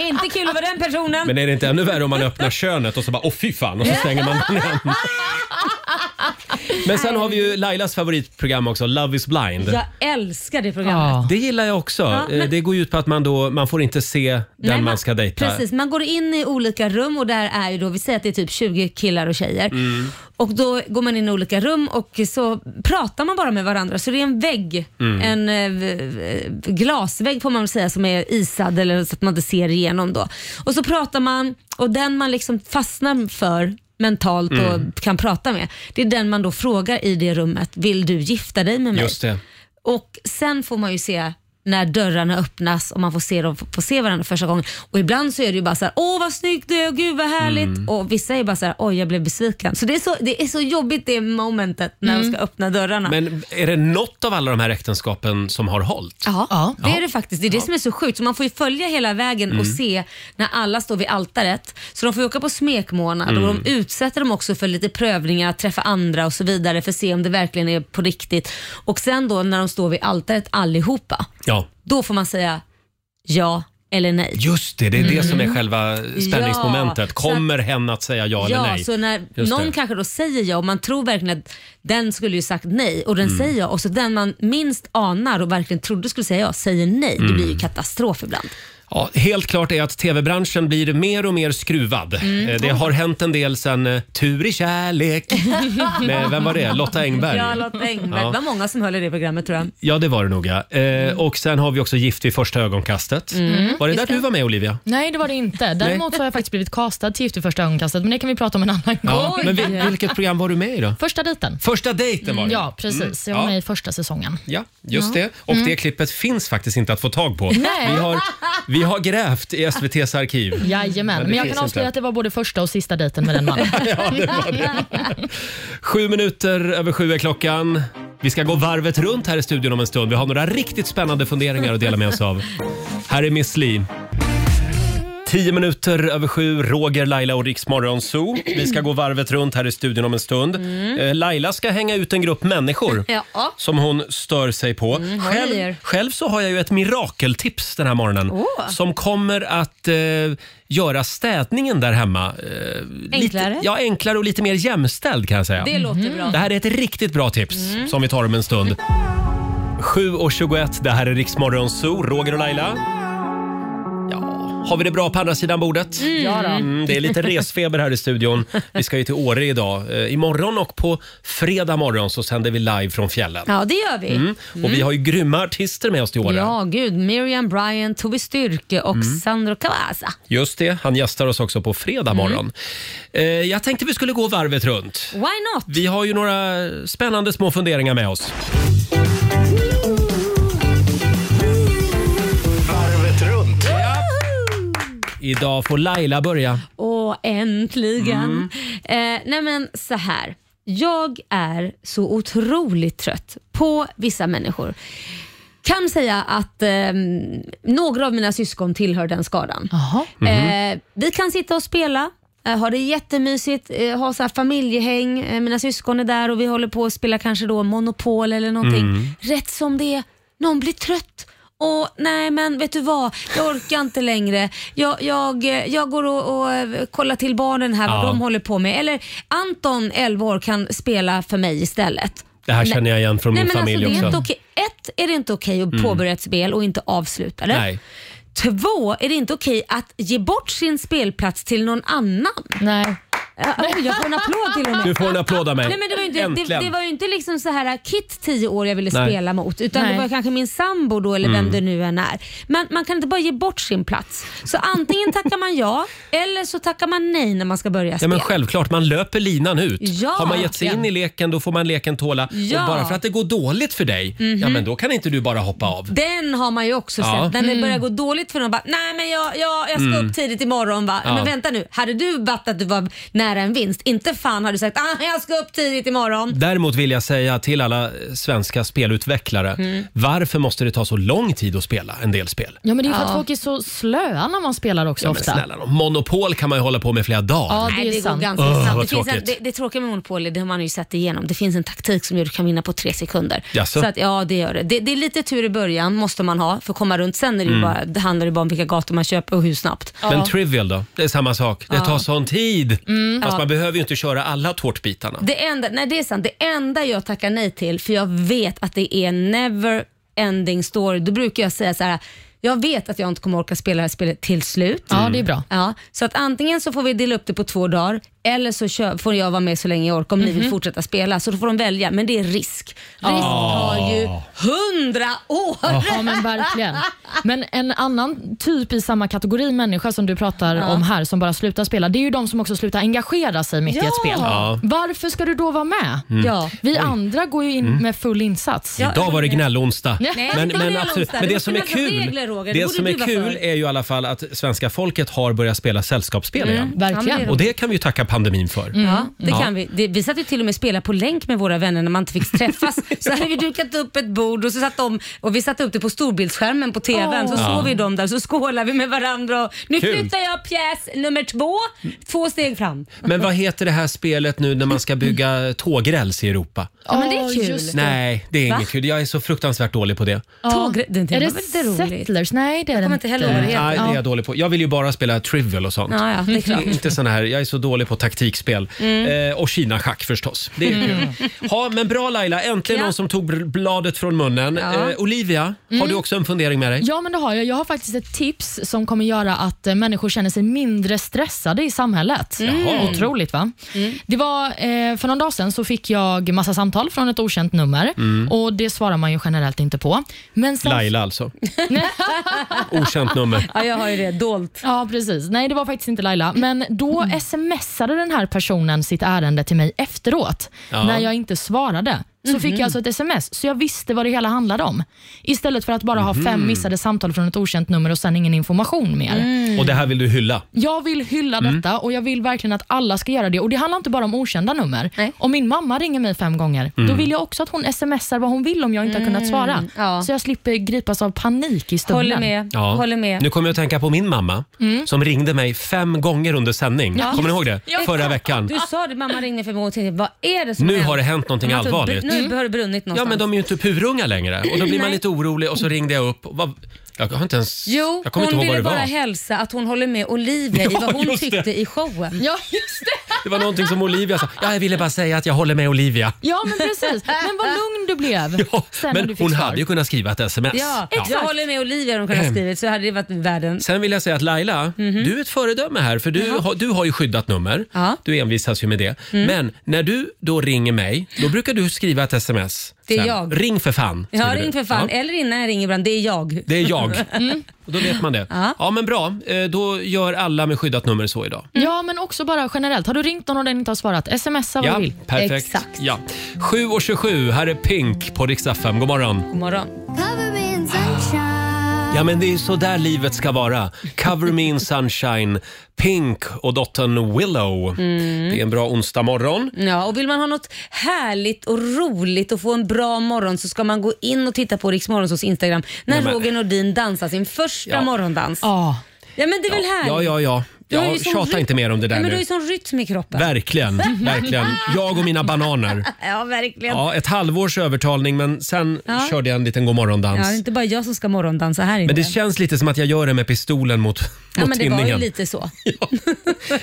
inte kul att vara den personen. Men är det inte ännu värre om man öppnar könet och så bara åh fy fan och så stänger man den igen. Men sen har vi ju Lailas favoritprogram också, Love is blind. Jag älskar det programmet. Ja. Det gillar jag också. men- Eh, Det går ju ut på att man, då, man får inte se den Nej, man ska dejta. Precis, man går in i olika rum och där är ju då, vi säger att det är typ 20 killar och tjejer. Mm. Och då går man in i olika rum och så pratar man bara med varandra. Så det är en vägg, Mm. en eh, v- v- glasvägg får man väl säga som är isad eller så att man inte ser igenom då. Och så pratar man och den man liksom fastnar för mentalt Mm. och kan prata med. Det är den man då frågar i det rummet, vill du gifta dig med mig? Just det. Och sen får man ju se när dörrarna öppnas och man får se dem får se varandra första gången. Och ibland så är det ju bara så här, åh vad snyggt du är, och gud vad härligt. Och vissa är bara så här, oj jag blev besviken. Så det är så, det är så jobbigt det momentet när de Mm. ska öppna dörrarna. Men är det något av alla de här äktenskapen som har hållit? Ja, Ja. Mm. det är det faktiskt. Det är det som är så sjukt. Så man får ju följa hela vägen och se när alla står vid altaret. Så de får ju åka på smekmånad och Mm. de utsätter dem också för lite prövningar, träffa andra och så vidare för att se om det verkligen är på riktigt. Och sen då när de står vid altaret allihopa, Ja. då får man säga ja eller nej. Just det, det är det som är själva spänningsmomentet. Ja, Mm. så att- Kommer hen att säga ja, eller Ja, nej? så när Just någon det. kanske då säger ja och man tror verkligen att den skulle ju sagt nej och den Mm. säger ja och så den man minst anar och verkligen trodde skulle säga ja säger nej. Det blir ju Mm. katastrof ibland. Ja, helt klart är att tv-branschen blir mer och mer skruvad. Eh, Det har hänt en del sen eh, Tur i kärlek. Med, vem var det? Lotta Engberg? Ja, Lotta Engberg. Ja. Det var många som höll i det programmet tror jag. Ja, det var det nog ja. Eh, och sen har vi också Gift vid första ögonkastet. Var det där du var med Olivia? Nej, det var det inte. Däremot så har jag faktiskt blivit castad till Gift i första ögonkastet, men det kan vi prata om en annan gång. Men vil- vilket program var du med i då? Första dejten. Första dejten Mm, var det. Ja, precis. Jag var Mm. Ja. med i första säsongen. Ja, just det. Och det klippet finns faktiskt inte att få tag på. Nej. Vi har, vi har grävt i SVTs arkiv. Jajamän, det men jag finns kan avslöja inte. att det var både första och sista dejten med den mannen. Sju minuter över sju är klockan. Vi ska gå varvet runt här i studion om en stund. Vi har några riktigt spännande funderingar att dela med oss av. Här är Miss Li. Tio minuter över sju, Roger, Laila och Riksmorgon Zoo. Vi ska gå varvet runt här i studion om en stund. Eh, Laila ska hänga ut en grupp människor Ja. som hon stör sig på. vad själv, gör? själv så har jag ju ett mirakeltips den här morgonen som kommer att eh, göra städningen där hemma eh, Enklare? Lite, ja, enklare och lite mer jämställd kan jag säga. Det låter bra. Det här är ett riktigt bra tips som vi tar om en stund. 7.21, det här är Riksmorgon Zoo, Roger och Laila. Ja, Har vi det bra på andra sidan bordet? Ja då. Mm, det är lite resfeber här i studion. Vi ska ju till Åre idag. Eh, imorgon och på fredag morgon så sänder vi live från fjällen. Ja, det gör vi. Och vi har ju grymma artister med oss till Åre. Ja, gud. Miriam Bryant, Tove Styrke och Mm. Sandro Cavazza. Just det, han gästar oss också på Mm. fredag morgon. Eh, jag tänkte vi skulle gå varvet runt. Why not? Vi har ju några spännande små funderingar med oss. Varvet runt. Idag får Laila börja. Åh, äntligen. Eh, nej men så här. Jag är så otroligt trött på vissa människor. Kan säga att eh, några av mina syskon tillhör den skadan. Jaha. Mhm. Eh, vi kan sitta och spela, eh, ha det jättemysigt, eh, ha så här familjehäng. Eh, mina syskon är där och vi håller på att spela kanske då Monopol eller någonting. Mm. Rätt som det är, någon blir trött. Och nej men vet du vad, jag orkar inte längre. Jag, jag, eh, jag går och, och eh, kollar till barnen här Ja. vad de håller på med. Eller Anton, 11 år, kan spela för mig istället. Det här känner jag igen från Nej, min men familj alltså, det också. är Mm. Inte okej. Ett, är det inte okej att påbörja ett spel och inte avsluta det? Nej. Två, är det inte okej att ge bort sin spelplats till någon annan? Nej. Äh, oj, jag får en applåd till och med. Du får en applåd av mig. Nej, men det, var ju inte, det, Äntligen. det var ju inte liksom så här Kit 10 år jag ville Nej. Mm. spela mot utan Nej. det var kanske min sambo då eller vem det nu än är. Men man kan inte bara ge bort sin plats. Så antingen tackar man ja eller så tackar man nej när man ska börja Ja spela. men självklart, man löper linan ut. Ja, Har man gett sig in verkligen. i leken då får man leken tåla. Ja. Mhm. Och bara för att det går dåligt för dig, ja men då kan inte du bara hoppa av. Den har man ju också Ja. Mm. sett. När det börjar gå dåligt för någon bara, nej men jag, jag, jag ska upp tidigt imorgon va. Ja. Men vänta nu, hade du varit att du var nära en vinst, inte fan har du sagt, ah, jag ska upp tidigt imorgon. Däremot vill jag säga till alla eh, svenska spelutvecklare, Mhm. varför måste det ta så lång tid att spela en del spel? Ja, men det är för att folk är så slöa när man spelar också Ja, men ofta. snälla nån, Monopol kan man ju hålla på med flera dagar. Ja, det Nej, är det går sant. ganska Åh, snabbt. vad Det, finns en, tråkigt. det, det tråkiga med Monopol är det har man ju sett igenom. Det finns en taktik som gör att du kan vinna på tre sekunder. Jaså? Så att, ja, det gör det. det. Det är lite tur i början, måste man ha, för att komma runt. Sen är Mm. det ju bara, det handlar det bara om vilka gator man köper och hur snabbt. Men Trivial då? Det är samma sak. Det tar sån tid. Mm. Fast man behöver ju inte köra alla tårtbitarna. Det enda, nej, det är sant. Det enda jag tackar nej till, för jag vet att det är never ending story, då brukar jag säga så här, jag vet att jag inte kommer orka spela det här spelet till slut. Ja, det är bra. Ja, så att antingen så får vi dela upp det på två dagar eller så kö- får jag vara med så länge jag orkar om ni vill fortsätta spela. Så då får de välja, men det är risk. Risk har ju hundra år! Ja, men verkligen. Men en annan typ i samma kategori människa som du pratar om här, som bara slutar spela, det är ju de som också slutar engagera sig mitt i ett spel. Ja. Varför ska du då vara med? Ja. Vi andra går ju in med full insats. Idag var det gnällonsdag. Nej, det men, var men, gnällonsdag. absolut. Det men det måste som är finnas kul, regler, Roger. Det det borde som är du vara kul för. är ju i alla fall att svenska folket har börjat spela sällskapsspel Mm. igen. Verkligen. Och det kan vi ju tacka pandemin för. Ja, det kan vi. Det, vi satt ju till och med och spelade på länk med våra vänner när man inte fick träffas. så hade vi dukat upp ett bord och så satt de och vi satte upp det på storbildsskärmen på TVn. Så såg vi dem där så skålade vi med varandra och nu Kul. flyttar jag pjäs nummer två, två steg fram. Men vad heter det här spelet nu när man ska bygga tågräls i Europa? Ja, men det är Ja, kul. just det. Nej, det är Va? inget kul. Jag är så fruktansvärt dålig på det. Ja. Tågre- det- det är var det väl inte roligt? Settlers? Nej, det är det kommer inte heller ihåg vad det heter. Nej, det är jag dålig på. Jag vill ju bara spela Trivial och sånt. Ja, ja, det är klart. Inte sån här, jag är så dålig på taktikspel. Mm. Eh, och Kina-schack förstås. Det är kul. Ja, men bra Laila, äntligen Ja. någon som tog bl- bladet från munnen. Ja. Mm. Eh, Olivia, har du också en fundering med dig? Ja, men det har jag. Jag har faktiskt ett tips som kommer göra att eh, människor känner sig mindre stressade i samhället. Mm. Jaha. Otroligt va? Det var, eh, för någon dag sedan så fick jag massa samtal från ett okänt nummer och det svarar man ju generellt inte på. Men sen, Laila alltså. Okänt nummer. Ja, jag har ju det dolt. Ja, precis. Nej, det var faktiskt inte Laila. Men då Mm. smsade den här personen sitt ärende till mig efteråt, Ja. när jag inte svarade. Så fick Mhm. jag alltså ett sms, så jag visste vad det hela handlade om. Istället för att bara ha Mhm. fem missade samtal från ett okänt nummer och sen ingen information mer. Mm. Och det här vill du hylla. Jag vill hylla detta och jag vill verkligen att alla ska göra det. Och Det handlar inte bara om okända nummer. Nej. Mm. Om min mamma ringer mig fem gånger, då vill jag också att hon smsar vad hon vill om jag inte har kunnat svara. ja. Så jag slipper gripas av panik i stunden. Håller med. Ja. Håller med. Mm. Nu kommer jag att tänka på min mamma som ringde mig fem gånger under sändning. Kommer ni ihåg det? Förra veckan. Du sa det, mamma ringde för mig och tänkte, vad är det som Nu hänt? har det hänt någonting Man tror, allvarligt. br- Nu har det brunnit Ja, någonstans. men de är ju inte purunga längre. Och då blir man Nej. lite orolig och så ringde jag upp. Och vad- jag har inte ens... Jo, jag kommer hon inte ihåg vad ville det bara var. hälsa att hon håller med Olivia i Ja, vad hon just det. tyckte i showen. Ja, just det. Det var någonting som Olivia sa. Ja, jag ville bara säga att jag håller med Olivia. Ja, men precis. Men vad lugn du blev. Ja, sen när men du fick hon svar. hade ju kunnat skriva ett sms. Ja, Jag håller med Olivia om hon Ehm. kunde ha skrivit så hade det varit världen. Sen vill jag säga att Laila, du är ett föredöme här för du, har- du har ju skyddat nummer. Ja. Du envisas ju med det. Men när du då ringer mig, då brukar du skriva ett sms. Det är sen. jag. Ring för fan. Jag har skriver du. ringt för fan, Ja, eller innan jag ringer ibland, det är jag. det är jag. Och då vet man det. Ja. men bra. Eh, Då gör alla med skyddat nummer så idag. Ja, men också bara generellt. Har du ringt någon och den inte har svarat, smsa vad Ja, du vill. perfekt. Exakt. Ja. 7.27, här är Pink på Rix FM. God morgon. God morgon. Ja, men det är så där livet ska vara. Cover me in sunshine, Pink och dottern Willow. Mm. Det är en bra onsdag morgon. Ja, och vill man ha något härligt och roligt och få en bra morgon så ska man gå in och titta på Rix Morgonzos Instagram när Nej, men- Roger Nordin dansar sin första Ja. morgondans. Ja. Ja. men det är väl härligt? Ja, ja, ja. Du har ju Jag sån tjatar rytm- inte mer om det där Nej, men Du har nu. ju sån rytm i kroppen. Verkligen, verkligen. Jag och mina bananer. ja, verkligen. Ja. Ja, ett halvårs övertalning men sen Ja. körde jag en liten det är godmorgondans. inte bara jag som ska morgondansa här inne. Men det känns lite som att jag gör det med pistolen mot, ja, mot men det var ju tinningen. lite så.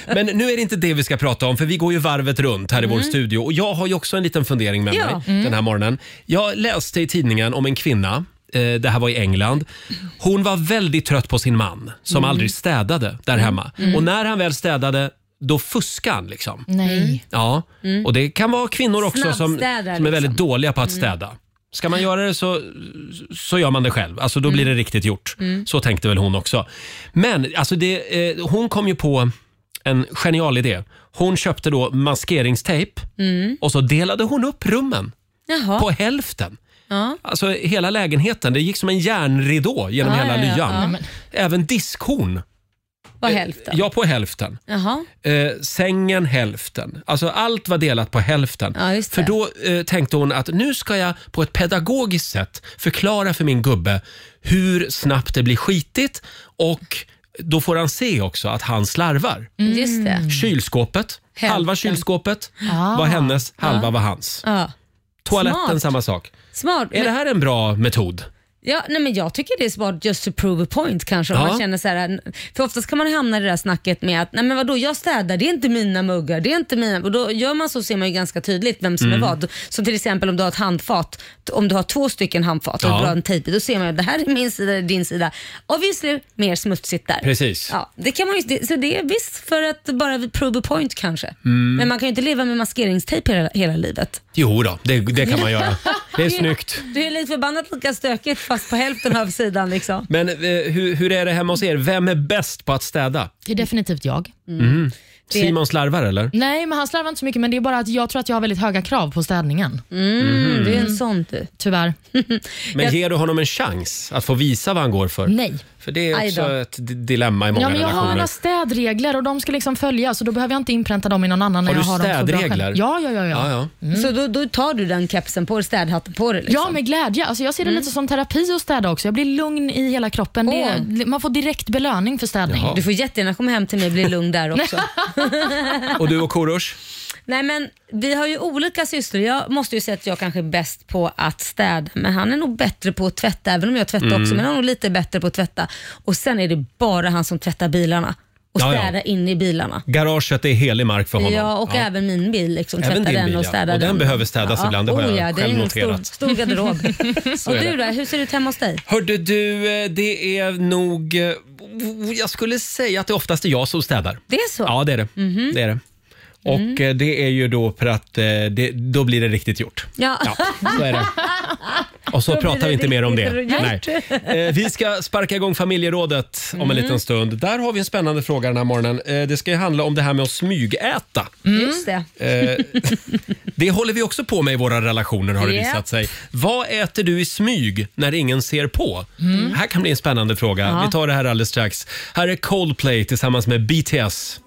Men nu är det inte det vi ska prata om för vi går ju varvet runt här i vår studio och jag har ju också en liten fundering med Ja. mig den här morgonen. Jag läste i tidningen om en kvinna eh, det här var i England. Hon var väldigt trött på sin man som aldrig städade där hemma. Och när han väl städade, då fuskade han. Liksom. Nej. Ja, och det kan vara kvinnor också som, som är Snabbstädare, väldigt Mm. liksom. dåliga på att städa. Ska man göra det så, så gör man det själv. Alltså Mm. då blir det riktigt gjort. Så tänkte väl hon också. Men alltså det, eh, hon kom ju på en genial idé. Hon köpte då maskeringstejp Mm. och så delade hon upp rummen Jaha. på hälften. Alltså hela lägenheten. Det gick som en järnridå genom Ja, hela ja, ja. lyan. Ja. Även diskhon. På hälften? Ja, på hälften. Jaha. Eh, sängen hälften. Alltså allt var delat på hälften. Ja, just för det. då eh, tänkte hon att nu ska jag på ett pedagogiskt sätt förklara för min gubbe hur snabbt det blir skitigt och då får han se också att han slarvar. Just det. Kylskåpet, Mm. Hälften. halva kylskåpet Ah. var hennes, halva var hans. Ja. Toaletten Smart. samma sak. Smart. Är men- det här en bra metod? Ja, nej men jag tycker det är smart just to prove a point kanske. Om Ja. man känner så här, för oftast kan man hamna i det där snacket med att nej men vadå, jag städar, det är inte mina muggar, det är inte mina. Och då gör man så ser man ju ganska tydligt vem som Mm. är vad. Så till exempel om du har ett handfat, om du har två stycken handfat och Ja. du har en tejp, då ser man ju det här är min sida, det är din sida. Obviously mer smutsigt där. Precis. Ja, det kan man ju, det- så det är visst för att bara prove a point kanske. Mm. Men man kan ju inte leva med maskeringstejp hela, hela livet. Jo då, det, det kan man göra. Det är snyggt. Du är lite förbannat lika stökigt fast på hälften av sidan liksom. Men eh, hur, hur är det hemma hos er? Vem är bäst på att städa? Det är definitivt jag. Det- Simon slarvar eller? Nej, men han slarvar inte så mycket, men det är bara att jag tror att jag har väldigt höga krav på städningen. Mm, du är en sån du. Tyvärr. Men Jag- ger du honom en chans att få visa vad han går för? Nej. För det är Aj också då. ett di- dilemma i många Ja, men jag har relationer. alla städregler och de ska liksom följas och då behöver jag inte inpränta dem i någon annan. när Har jag du har dem så bra städregler? själv. Ja, ja, ja. Ja, ja. ja. Så då, då tar du den kepsen på dig, städhatten på dig? Liksom. Ja, med glädje. Alltså jag ser det lite som terapi att städa också. Jag blir lugn i hela kroppen. Det är, man får direkt belöning för städning. Jaha. Du får jättegärna komma hem till mig och bli lugn där också. Och du och Korosh? Nej men vi har ju olika sysslor. Jag måste ju säga att jag kanske är bäst på att städa, men han är nog bättre på att tvätta, även om jag tvättar också, Mm. men han är nog lite bättre på att tvätta. Och sen är det bara han som tvättar bilarna och Ja, ja. städar in i bilarna. Garaget är helig mark för honom. Ja, och även min bil. Liksom, Även tvätta din den bil, och ja. städa Och den behöver städas ibland, det har jag ja, det är själv en Stor, noterat. stor garderob. och är det. du då, hur ser det ut hemma hos dig? Hörde du, eh, det är nog... eh, Jag skulle säga att det oftast är jag som städar. Det är så? Mhm. Mm. Ja, det är det. det, är det. Och eh, det är ju då för att eh, det, då blir det riktigt gjort. Ja. så är det. Och så Då blir pratar det vi inte mer om det. riktigt Nej. Eh, Vi ska sparka igång familjerådet om Mm. en liten stund. Där har vi en spännande fråga den här morgonen. Eh, Det ska ju handla om det här med att smygäta. Just det. Eh, Det håller vi också på med i våra relationer har det Ja. visat sig. Vad äter du i smyg när ingen ser på? Mm. Det här kan bli en spännande fråga. Vi tar det här alldeles strax. Här är Coldplay tillsammans med BTS.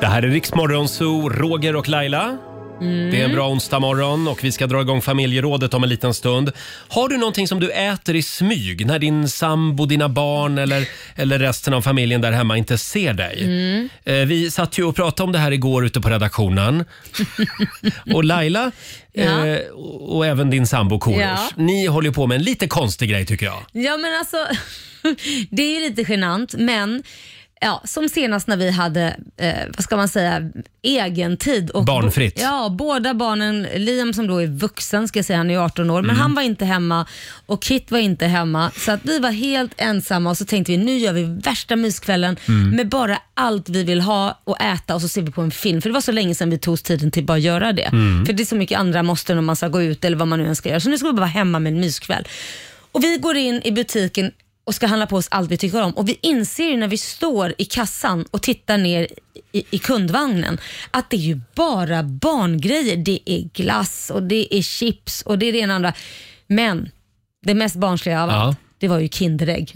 Det här är Riksmorgon Zoo, Roger och Laila. Det är Mm. en bra onsdag morgon och vi ska dra igång familjerådet om en liten stund. Har du någonting som du äter i smyg när din sambo, dina barn eller, eller resten av familjen där hemma inte ser dig? Mm. Eh, Vi satt ju och pratade om det här igår ute på redaktionen. och Laila Ja. eh, och, och även din sambo Korosh, Ja. ni håller ju på med en lite konstig grej tycker jag. Ja men alltså, det är ju lite genant men Ja, som senast när vi hade, eh, vad ska man säga, egentid. Och Barnfritt. Ja, båda barnen, Liam som då är vuxen, ska jag säga, han är 18 år, men han var inte hemma och Kit var inte hemma. Så att vi var helt ensamma och så tänkte vi nu gör vi värsta myskvällen med bara allt vi vill ha och äta och så ser vi på en film. För det var så länge sedan vi tog oss tiden till bara göra det. För det är så mycket andra måste när man ska gå ut eller vad man nu än ska göra. Så nu ska vi bara vara hemma med en myskväll. Och vi går in i butiken och ska handla på oss allt vi tycker om. Och vi inser ju när vi står i kassan och tittar ner i, i kundvagnen att det är ju bara barngrejer. Det är glass och det är chips och det är det ena och andra. Men det mest barnsliga av Ja. allt, det var ju Kinderägg.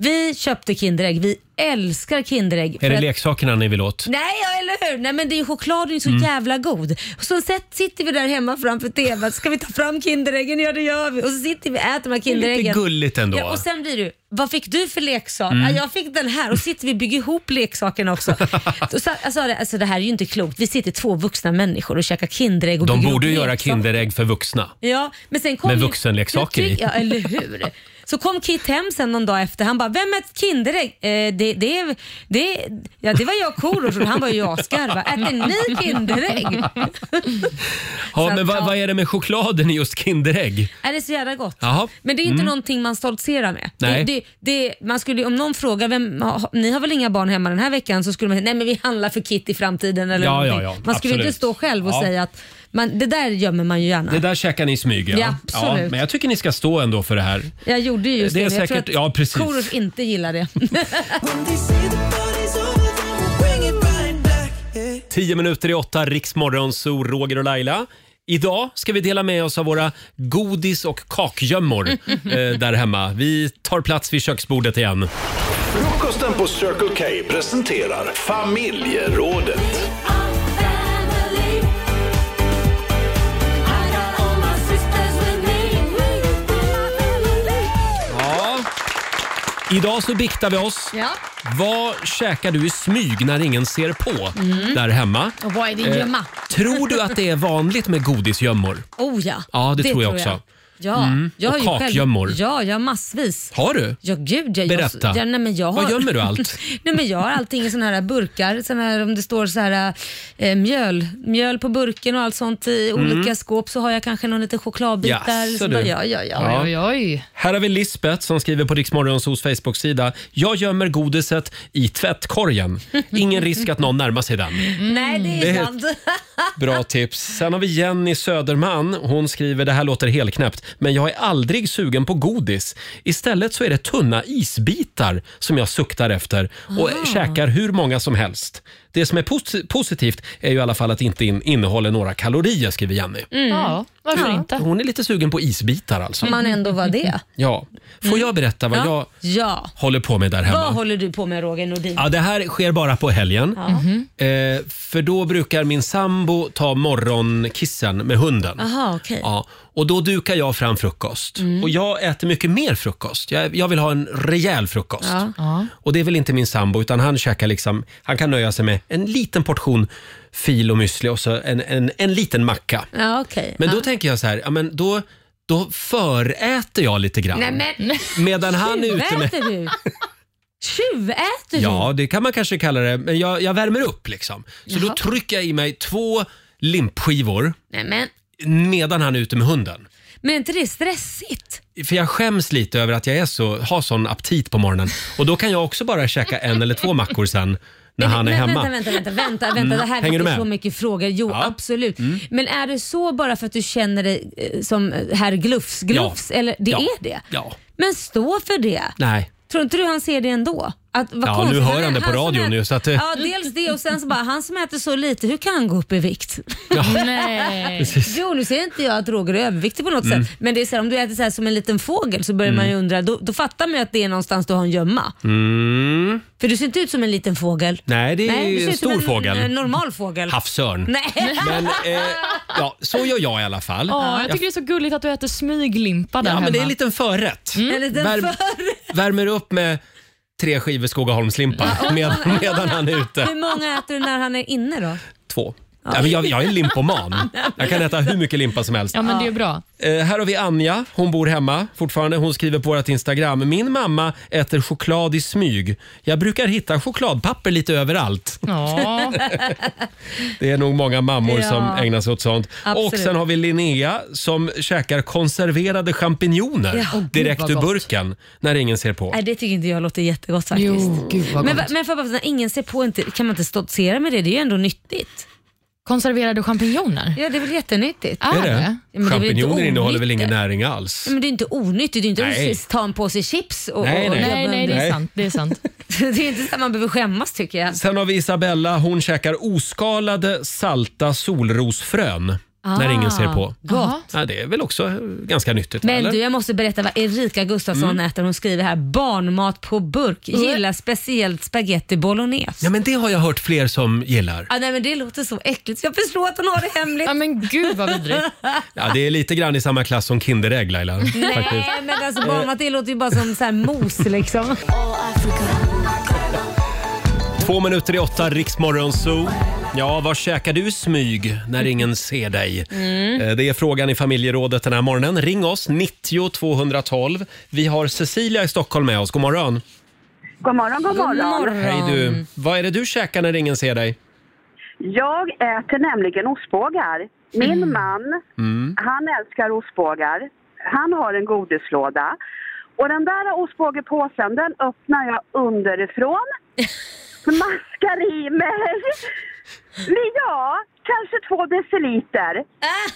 vi köpte Kinderägg. Vi älskar Kinderägg. Är För det att- leksakerna ni vill åt? Nej, ja, eller hur? Nej, men det är ju choklad, den är så Mm. jävla god. Och så sett- sitter vi där hemma framför tvn, ska vi ta fram Kinderäggen? Ja, det gör vi. Och så sitter vi och äter de här Kinderäggen. Lite gulligt ändå. Ja, och sen blir du, vad fick du för leksak? Mm. Ja, jag fick den här och sitter vi och bygger ihop leksakerna också. Så, så, alltså, det- alltså, det här är ju inte klokt. Vi sitter två vuxna människor och käkar Kinderägg och De bygger borde ju ihop göra leksaker. Kinderägg för vuxna. Ja, men sen kom Med ju- vuxenleksaker i. Ja, eller hur. Så kom Kit hem sen någon dag efter. Han bara, vem är ett Kinderägg? Eh, det, det, är- det, är- ja, det var jag och Korosh och han var ju asgarva. Äter ni Kinderägg? Ja, Så men att, vad, ja. vad är det med chokladen i just Kinderägg? Är det så jävla gott? Jaha. Mm. Men det är inte någonting man stoltserar med. Nej. Det, det, det, man skulle, om någon frågar, vem, ha- ni har väl inga barn hemma den här veckan? Så skulle man säga, nej men vi handlar för Kit i framtiden. Eller Ja, någonting. ja, ja, man skulle absolut. inte stå själv och Ja. säga att man, det där gömmer man ju gärna. Det där käkar ni i smyg ja. Ja, absolut. men jag tycker ni ska stå ändå för det här. jag gjorde ju just det det, är men jag säkert- tror ja, att precis. Korosh inte gillar det. Tio minuter i åtta, Riksmorgonzoo, Roger och Laila. Idag ska vi dela med oss av våra godis och kakgömmor eh, där hemma. Vi tar plats vid köksbordet igen. Frukosten på Circle K presenterar Familjerådet. Ja. Idag så biktar vi oss. Ja. Vad käkar du i smyg när ingen ser på Mm. där hemma? Och vad är din gömma? Tror du att det är vanligt med godisgömmor? Oh ja. Ja, det tror jag också. Mm. Ja, jag och har ju själv- kakgömmor. Ja, jag har massvis. Har du? Ja, gud. Jag, Berätta. Jag, ja, nej, men jag har, Vad gömmer du allt? nej, men jag har allting i såna här burkar. Såna här, om det står så här, eh, mjöl, mjöl på burken och allt sånt i olika skåp så har jag kanske någon liten chokladbit Mm. Jaså, där. Så du. bara, ja, ja, ja. Oj, oj, oj. Här har vi Lisbeth som skriver på Riksmorgonsos Facebook-sida. Jag gömmer godiset i tvättkorgen. Ingen risk att någon närmar sig den. Mm. Nej, det är Det- sant. Bra tips. Sen har vi Jenny Söderman. Hon skriver, det här låter helt knäppt, men jag är aldrig sugen på godis. Istället så är det tunna isbitar som jag suktar efter och Ah. käkar hur många som helst. Det som är pos- positivt är ju i alla fall att det inte in- innehåller några kalorier, skriver Jenny. Mm. Ja, Mm. varför inte? Hon är lite sugen på isbitar alltså. Om man ändå var det. Ja. Får jag berätta vad jag Ja. ja. håller på med där hemma? Vad håller du på med Roger Nordin? Ja, det här sker bara på helgen. Mm-hmm. Eh, för då brukar min sambo ta morgonkissen med hunden. Aha, okej. Ja, och då dukar jag fram frukost. Och jag äter mycket mer frukost. Jag, jag vill ha en rejäl frukost. Och det är väl inte min sambo, utan han käkar liksom, han kan nöja sig med en liten portion fil och müsli och så en, en, en liten macka. Ja, okej. Men då ja. tänker jag så här, ja, men då, då föräter jag lite grann. Nej, men Medan han är ute med... tjuväter du? Tjuväter du? Ja, det kan man kanske kalla det. Men jag, jag värmer upp liksom. Så då Jaha. trycker jag i mig två limpskivor Nej, men, medan han är ute med hunden. men är inte det stressigt? För jag skäms lite över att jag är så, har sån aptit på morgonen. Och då kan jag också bara käka en eller två mackor sen när Men- han är men, hemma. Mm. Vänta, vänta, vänta. vänta, vänta. Det här Hänger du väcker med? så mycket frågor. Jo, Ja. Mm. absolut. Men är det så bara för att du känner dig eh, som eh, herr Glufs? Glufs? Ja. Eller, det Ja. är det? Ja. Men stå för det. Nej. Tror inte du han ser det ändå? Att, vad Ja, konstigt. nu hör han det på som radion äter- ju, så att det- Ja, dels det och sen så bara, han som äter så lite, hur kan han gå upp i vikt? Nej. Jo, nu säger inte jag att Roger är överviktig på något Mm. sätt, men det är så här, om du äter så här som en liten fågel så börjar man ju undra, då, då fattar man ju att det är någonstans du har en gömma. Mm. För du ser inte ut som en liten fågel. Nej, det är du ser en ut som stor fågel. En, en normal fågel. Havsörn. Nej. Men eh, ja, så gör jag i alla fall. Ja, jag tycker det är så gulligt att du äter smyglimpa där Ja, hemma. men det är en liten förrätt. Mm. En liten Värm- för- Värmer upp med tre skivor Skogaholmslimpa med, medan han är ute. Hur många äter du när han är inne då? Två. Ja, men jag, jag är limpoman. Jag kan äta hur mycket limpa som helst. Ja, men det är bra. Eh, här har vi Anja. Hon bor hemma fortfarande. Hon skriver på vårt Instagram. Min mamma äter choklad i smyg. Jag brukar hitta chokladpapper lite överallt. Ja, Det är nog många mammor Ja. som ägnar sig åt sånt. Absolut. Och sen har vi Linnea som käkar konserverade champinjoner Ja. Åh, gud, direkt vad ur gott. burken när ingen ser på. Nej, det tycker inte jag låter jättegott faktiskt. jo, gud vad men, va- gott. men för att när ingen ser på, inte, kan man inte stoltsera med det? Det är ju ändå nyttigt. Konserverade champinjoner? Ja, det är väl jättenyttigt? Är det? men det är väl inte Champinjoner innehåller väl ingen onyttigt? näring alls? Ja, Men det är inte onyttigt, det är inte Nej. precis ta en påse chips och... Nej, och- nej. och Nej, nej, det Nej. är sant. Det är sant. Det är inte så att man behöver skämmas tycker jag. Sen har vi Isabella. Hon käkar oskalade salta solrosfrön när ingen ser på. Gott. Ja, det är väl också eh, ganska nyttigt? Ah. Men eller? Mm. du, jag måste berätta vad Erika Gustafsson äter. Hon skriver här barnmat på burk. Gillar speciellt spaghetti bolognese. Ja, men det har jag hört fler som gillar. Ah, nej, men det låter så äckligt. Jag förstår att hon har det hemligt. Ja, men gud vad vidrigt. Ja, det är lite grann i samma klass som Kinderägg Laila. faktiskt. Nej, men alltså barnmat det låter ju bara som så här mos liksom. Två minuter i åtta, Riksmorgon Zoo. Ja, vad käkar du i smyg när ingen ser dig? Mm. Eh, Det är frågan i familjerådet den här morgonen. Ring oss, 90 212. Vi har Cecilia i Stockholm med oss. God morgon. God morgon, god morgon. God morgon. Hej du. Vad är det du käkar när ingen ser dig? Jag äter nämligen ostbågar. Min Mm. man, han älskar ostbågar. Han har en godislåda. Och den där ostbågepåsen, den öppnar jag underifrån. Smaskar i mig. Ja, kanske två deciliter. Äh,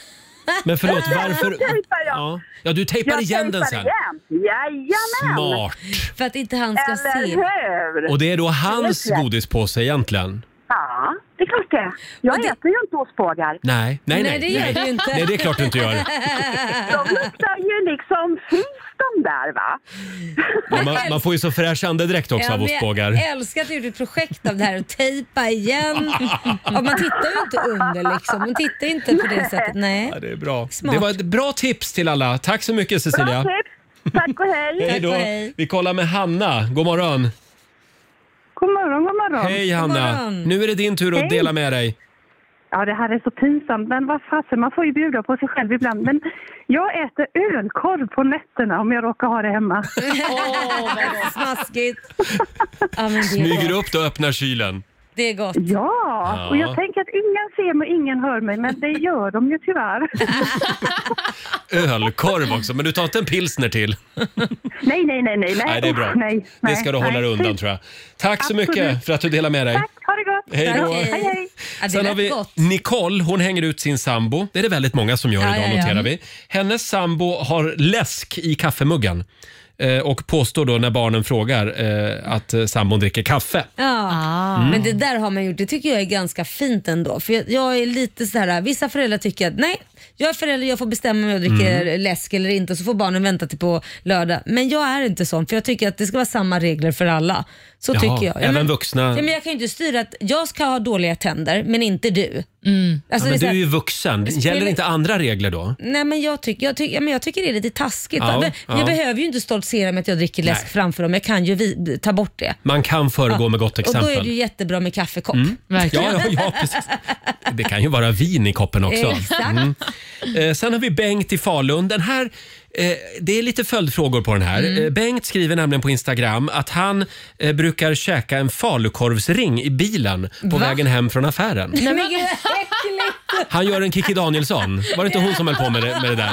Men förlåt, varför... tejpar jag. Ja, ja du tejpar igen den tejpar sen. igen. Jajamän! Smart. För att inte han ska Eller se. hur? Och det är då hans Just det. godispåse egentligen? Ja, det är klart det. Jag Och det- äter ju inte ostbågar. Nej, nej, nej. Nej, det gör nej. du inte. Nej, det är klart du inte gör. De luktar ju liksom fis de där va. Ja, man, man får ju så fräsch andedräkt också Ja, av men ostbågar. Jag älskar att du gjorde ett projekt av det här och tejpa igen. Och man tittar ju inte under liksom. Man tittar inte på det sättet. Nej. Ja, det är bra. Smart. Det var ett bra tips till alla. Tack så mycket Bra Cecilia. tips! Tack och hej! Hej då. Tack och hej. Vi kollar med Hanna. God morgon. God morgon, god morgon. Hej God Hanna. morgon. Nu är det din tur att Hej. dela med dig. Ja, det här är så pinsamt, men vad fasen, man får ju bjuda på sig själv ibland. Men jag äter ölkorv på nätterna om jag råkar ha det hemma. Smaskigt. Ja, men det, är Smyger gott. upp då och öppnar kylen. det är Mm. gott. Ja, och Ja. jag tänker att ingen ser mig, ingen hör mig, men det gör de ju tyvärr. Ölkorv också, men du tar inte en pilsner till? Nej, nej, nej, nej. Nej, det är bra. Nej, nej, Det ska du hålla nej. dig undan tror jag. Tack så Absolut. mycket för att du delar med dig. Tack, ha det gott! Hej då. Tack, Hej, hej! Ja, det Sen har lät vi gott. Nicole, hon hänger ut sin sambo. Det är det väldigt många som gör Ja, idag ja, ja. noterar vi. Hennes sambo har läsk i kaffemuggen eh, och påstår då när barnen frågar eh, att eh, sambon dricker kaffe. Ja. Men det där har man gjort, det tycker jag är ganska fint ändå. För jag, jag är lite så här, vissa föräldrar tycker att nej, jag är förälder, jag får bestämma om jag dricker Mm. läsk eller inte och så får barnen vänta till på lördag. Men jag är inte sån, för jag tycker att det ska vara samma regler för alla. Så Jaha, tycker jag. Ja, även men, vuxna? Ja, men jag kan ju inte styra att jag ska ha dåliga tänder, men inte du. Alltså, Ja, men du det är är så ju här, vuxen. Gäller inte andra regler då? Nej men jag tycker, jag, tycker, ja, men jag tycker det är lite taskigt. Ja, jag, be- ja. jag behöver ju inte stoltsera med att jag dricker läsk Nej. framför dem. Jag kan ju vi, ta bort det. Man kan föregå Ja, med gott exempel. Mm. Och då är det ju jättebra med kaffekopp. Verkligen. Ja, ja, ja, precis. Det kan ju vara vin i koppen också. Exakt. Eh, sen har vi Bengt i Falun. Den här, eh, det är lite följdfrågor på den här. Mm. Eh, Bengt skriver nämligen på Instagram att han eh, brukar käka en falukorvsring i bilen på vägen hem från affären. Nej, men gud, vad äckligt! Han gör en Kikki Danielsson. Var det inte hon som höll på med det, med det där?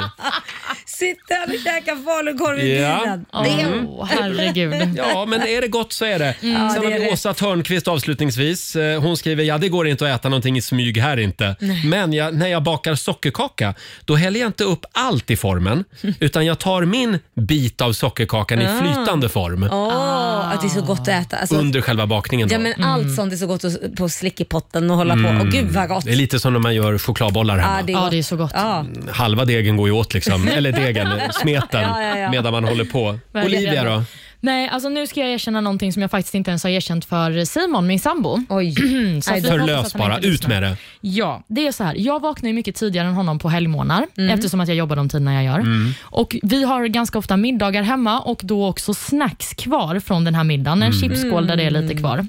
Sitta och käka falukorv i Ja. Mm. bilen. Åh, herregud. Ja, men är det gott så är det. Sen Mm, det har är vi det. Åsa Törnqvist avslutningsvis. Eh, Hon skriver, ja det går inte att äta någonting i smyg här inte. Men jag, när jag bakar sockerkaka, då häller jag inte upp allt i formen. Utan jag tar min bit av sockerkakan Ah. i flytande form. Åh, att det är så gott att äta. Alltså, Under själva bakningen då. ja, men Allt sånt är så gott att, på slickepotten och hålla på. Och gud vad gott. Mm. Det är lite som när man gör chokladbollar hemma. Ja, det är, Ja, gott. det är så gott. Ja. Halva degen går ju åt liksom. Eller degen, smeten. Ja, ja, ja. Medan man håller på. Verkligen. Olivia då? Nej, alltså nu ska jag erkänna någonting som jag faktiskt inte ens har erkänt för Simon, min sambo. Oj. Så att vi hoppas Förlös att han bara, inte ut lyssnar. med det. Ja, det är så här. Jag vaknar ju mycket tidigare än honom på helgmånader Mm. eftersom att jag jobbar de tiderna jag gör. Och Vi har ganska ofta middagar hemma och då också snacks kvar från den här middagen. Mm. En chipsskål Mm. där det är lite kvar.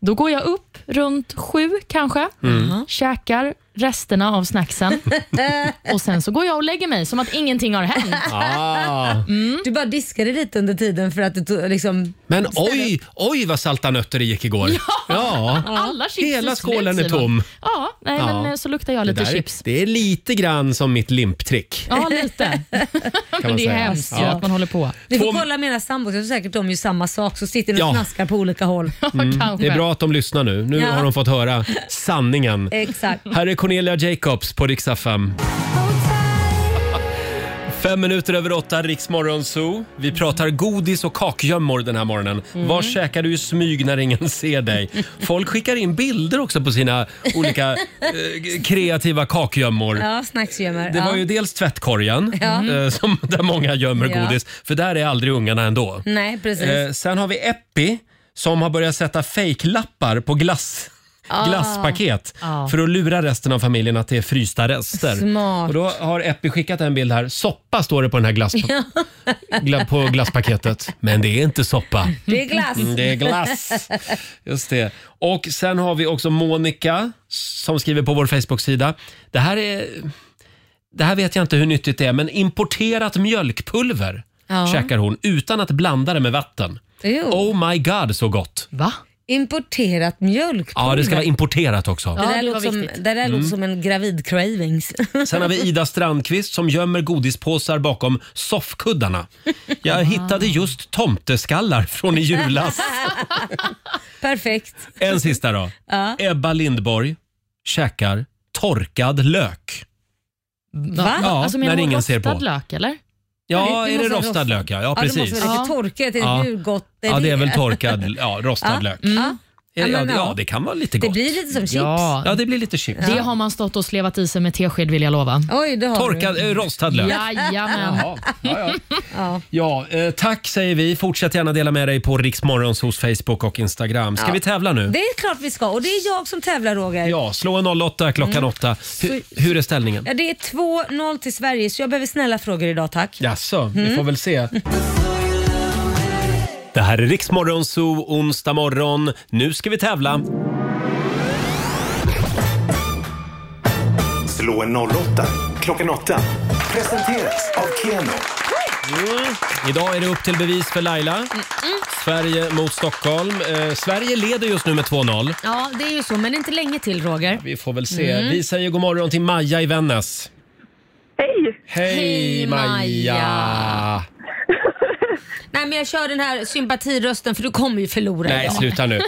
Då går jag upp runt sju kanske, Uh-huh. käkar resterna av snacksen och sen så går jag och lägger mig som att ingenting har hänt. Ah. Du bara diskade lite under tiden för att du tog, liksom... Men oj, oj vad salta nötter det gick igår. Ja, Alla chips Hela är slut, skålen är Simon. tom. Ja, nej, Ja. men eh, så luktar jag Det, lite där, chips. det är lite grann som mitt limptrick. Ja, lite. man men det säga. är hemskt ju Ja. att man håller på. Ni får Två- kolla mina sambos, jag tror säkert de gör samma sak, så sitter de och Ja. knaskar på olika håll. Kanske. Mm. Det är bra att de lyssnar nu. Nu Ja. har de fått höra sanningen. Exakt. Här är Cornelia Jacobs på Rix FM. Fem minuter över åtta, Riksmorgon Zoo. Vi pratar godis och kakgömmor den här morgonen. Mm. Vad käkar du i smyg när ingen ser dig? Folk skickar in bilder också på sina olika eh, kreativa kakgömmor. Ja, snacksgömmor. Det ja. var ju dels tvättkorgen, eh, som, där många gömmer Mm. Ja. godis, för där är aldrig ungarna ändå. Nej, precis. Eh, sen har vi Eppi som har börjat sätta fejklappar på glass. glasspaket Ah. för att lura resten av familjen att det är frysta rester. Smart. Och då har Eppi skickat en bild här. Soppa står det på den här glass... gla- på glasspaketet. Men det är inte soppa. Det är glass. Mm, Det är glass. Just det. Och sen har vi också Monica som skriver på vår Facebook-sida. Det här är... Det här vet jag inte hur nyttigt det är, men importerat mjölkpulver Ja. käkar hon utan att blanda det med vatten. Jo. Oh my god så gott! Va? Importerat mjölk. Ja, det ska vara Mm. importerat också. det där, Ja, det var låter, som, viktigt. det där låter som en gravid cravings. Sen har vi Ida Strandqvist som gömmer godispåsar bakom soffkuddarna. Jag hittade just tomteskallar från i julas. Perfekt. En sista då. Ebba Lindborg käkar torkad lök. Va? Ja, när Alltså, du ingen ser på. rostad lök eller? Ja, det- det är det måste vara rostad rost- lök? Ja, ja Ja, det precis. måste väl inte Ja. torka? Jag tänkte, Ja. hur gott är Ja, det är väl torkad, ja, rostad Ja. lök. Ja. Är det- Ja, men ja, ja. det kan vara lite Det gott. blir lite som chips. Ja, det blir lite chips. Det har man stått och slevat i sig med tesked vill jag lova. Oj, det har Torkad, du. eh, rostad lök. Jajamän. Ja, ja, ja. ja eh, tack säger vi. Fortsätt gärna dela med dig på Riksmorgons hos Facebook och Instagram. Ska vi tävla nu? Det är klart vi ska och det är jag som tävlar Roger. Ja. Ja, slå en 08 klockan åtta. Hur, hur är ställningen? det är 2-0 till Sverige så jag behöver snälla frågor idag tack. Jaså, vi får väl se. Det här är Riksmorgon Zoo, onsdag morgon. Nu ska vi tävla. Slå en 08 klockan 8. Presenteras av Keno. Idag är det upp till bevis för Laila. Sverige mot Stockholm. Eh, Sverige leder just nu med 2-0. Ja det är ju så men inte länge till Roger. Vi får väl se. Vi säger god morgon till Maja i Vännäs. Hej! Hej, Hej, Maja. Maja. Nej men jag kör den här sympatirösten för du kommer ju förlora Nej, idag. sluta nu. Eh,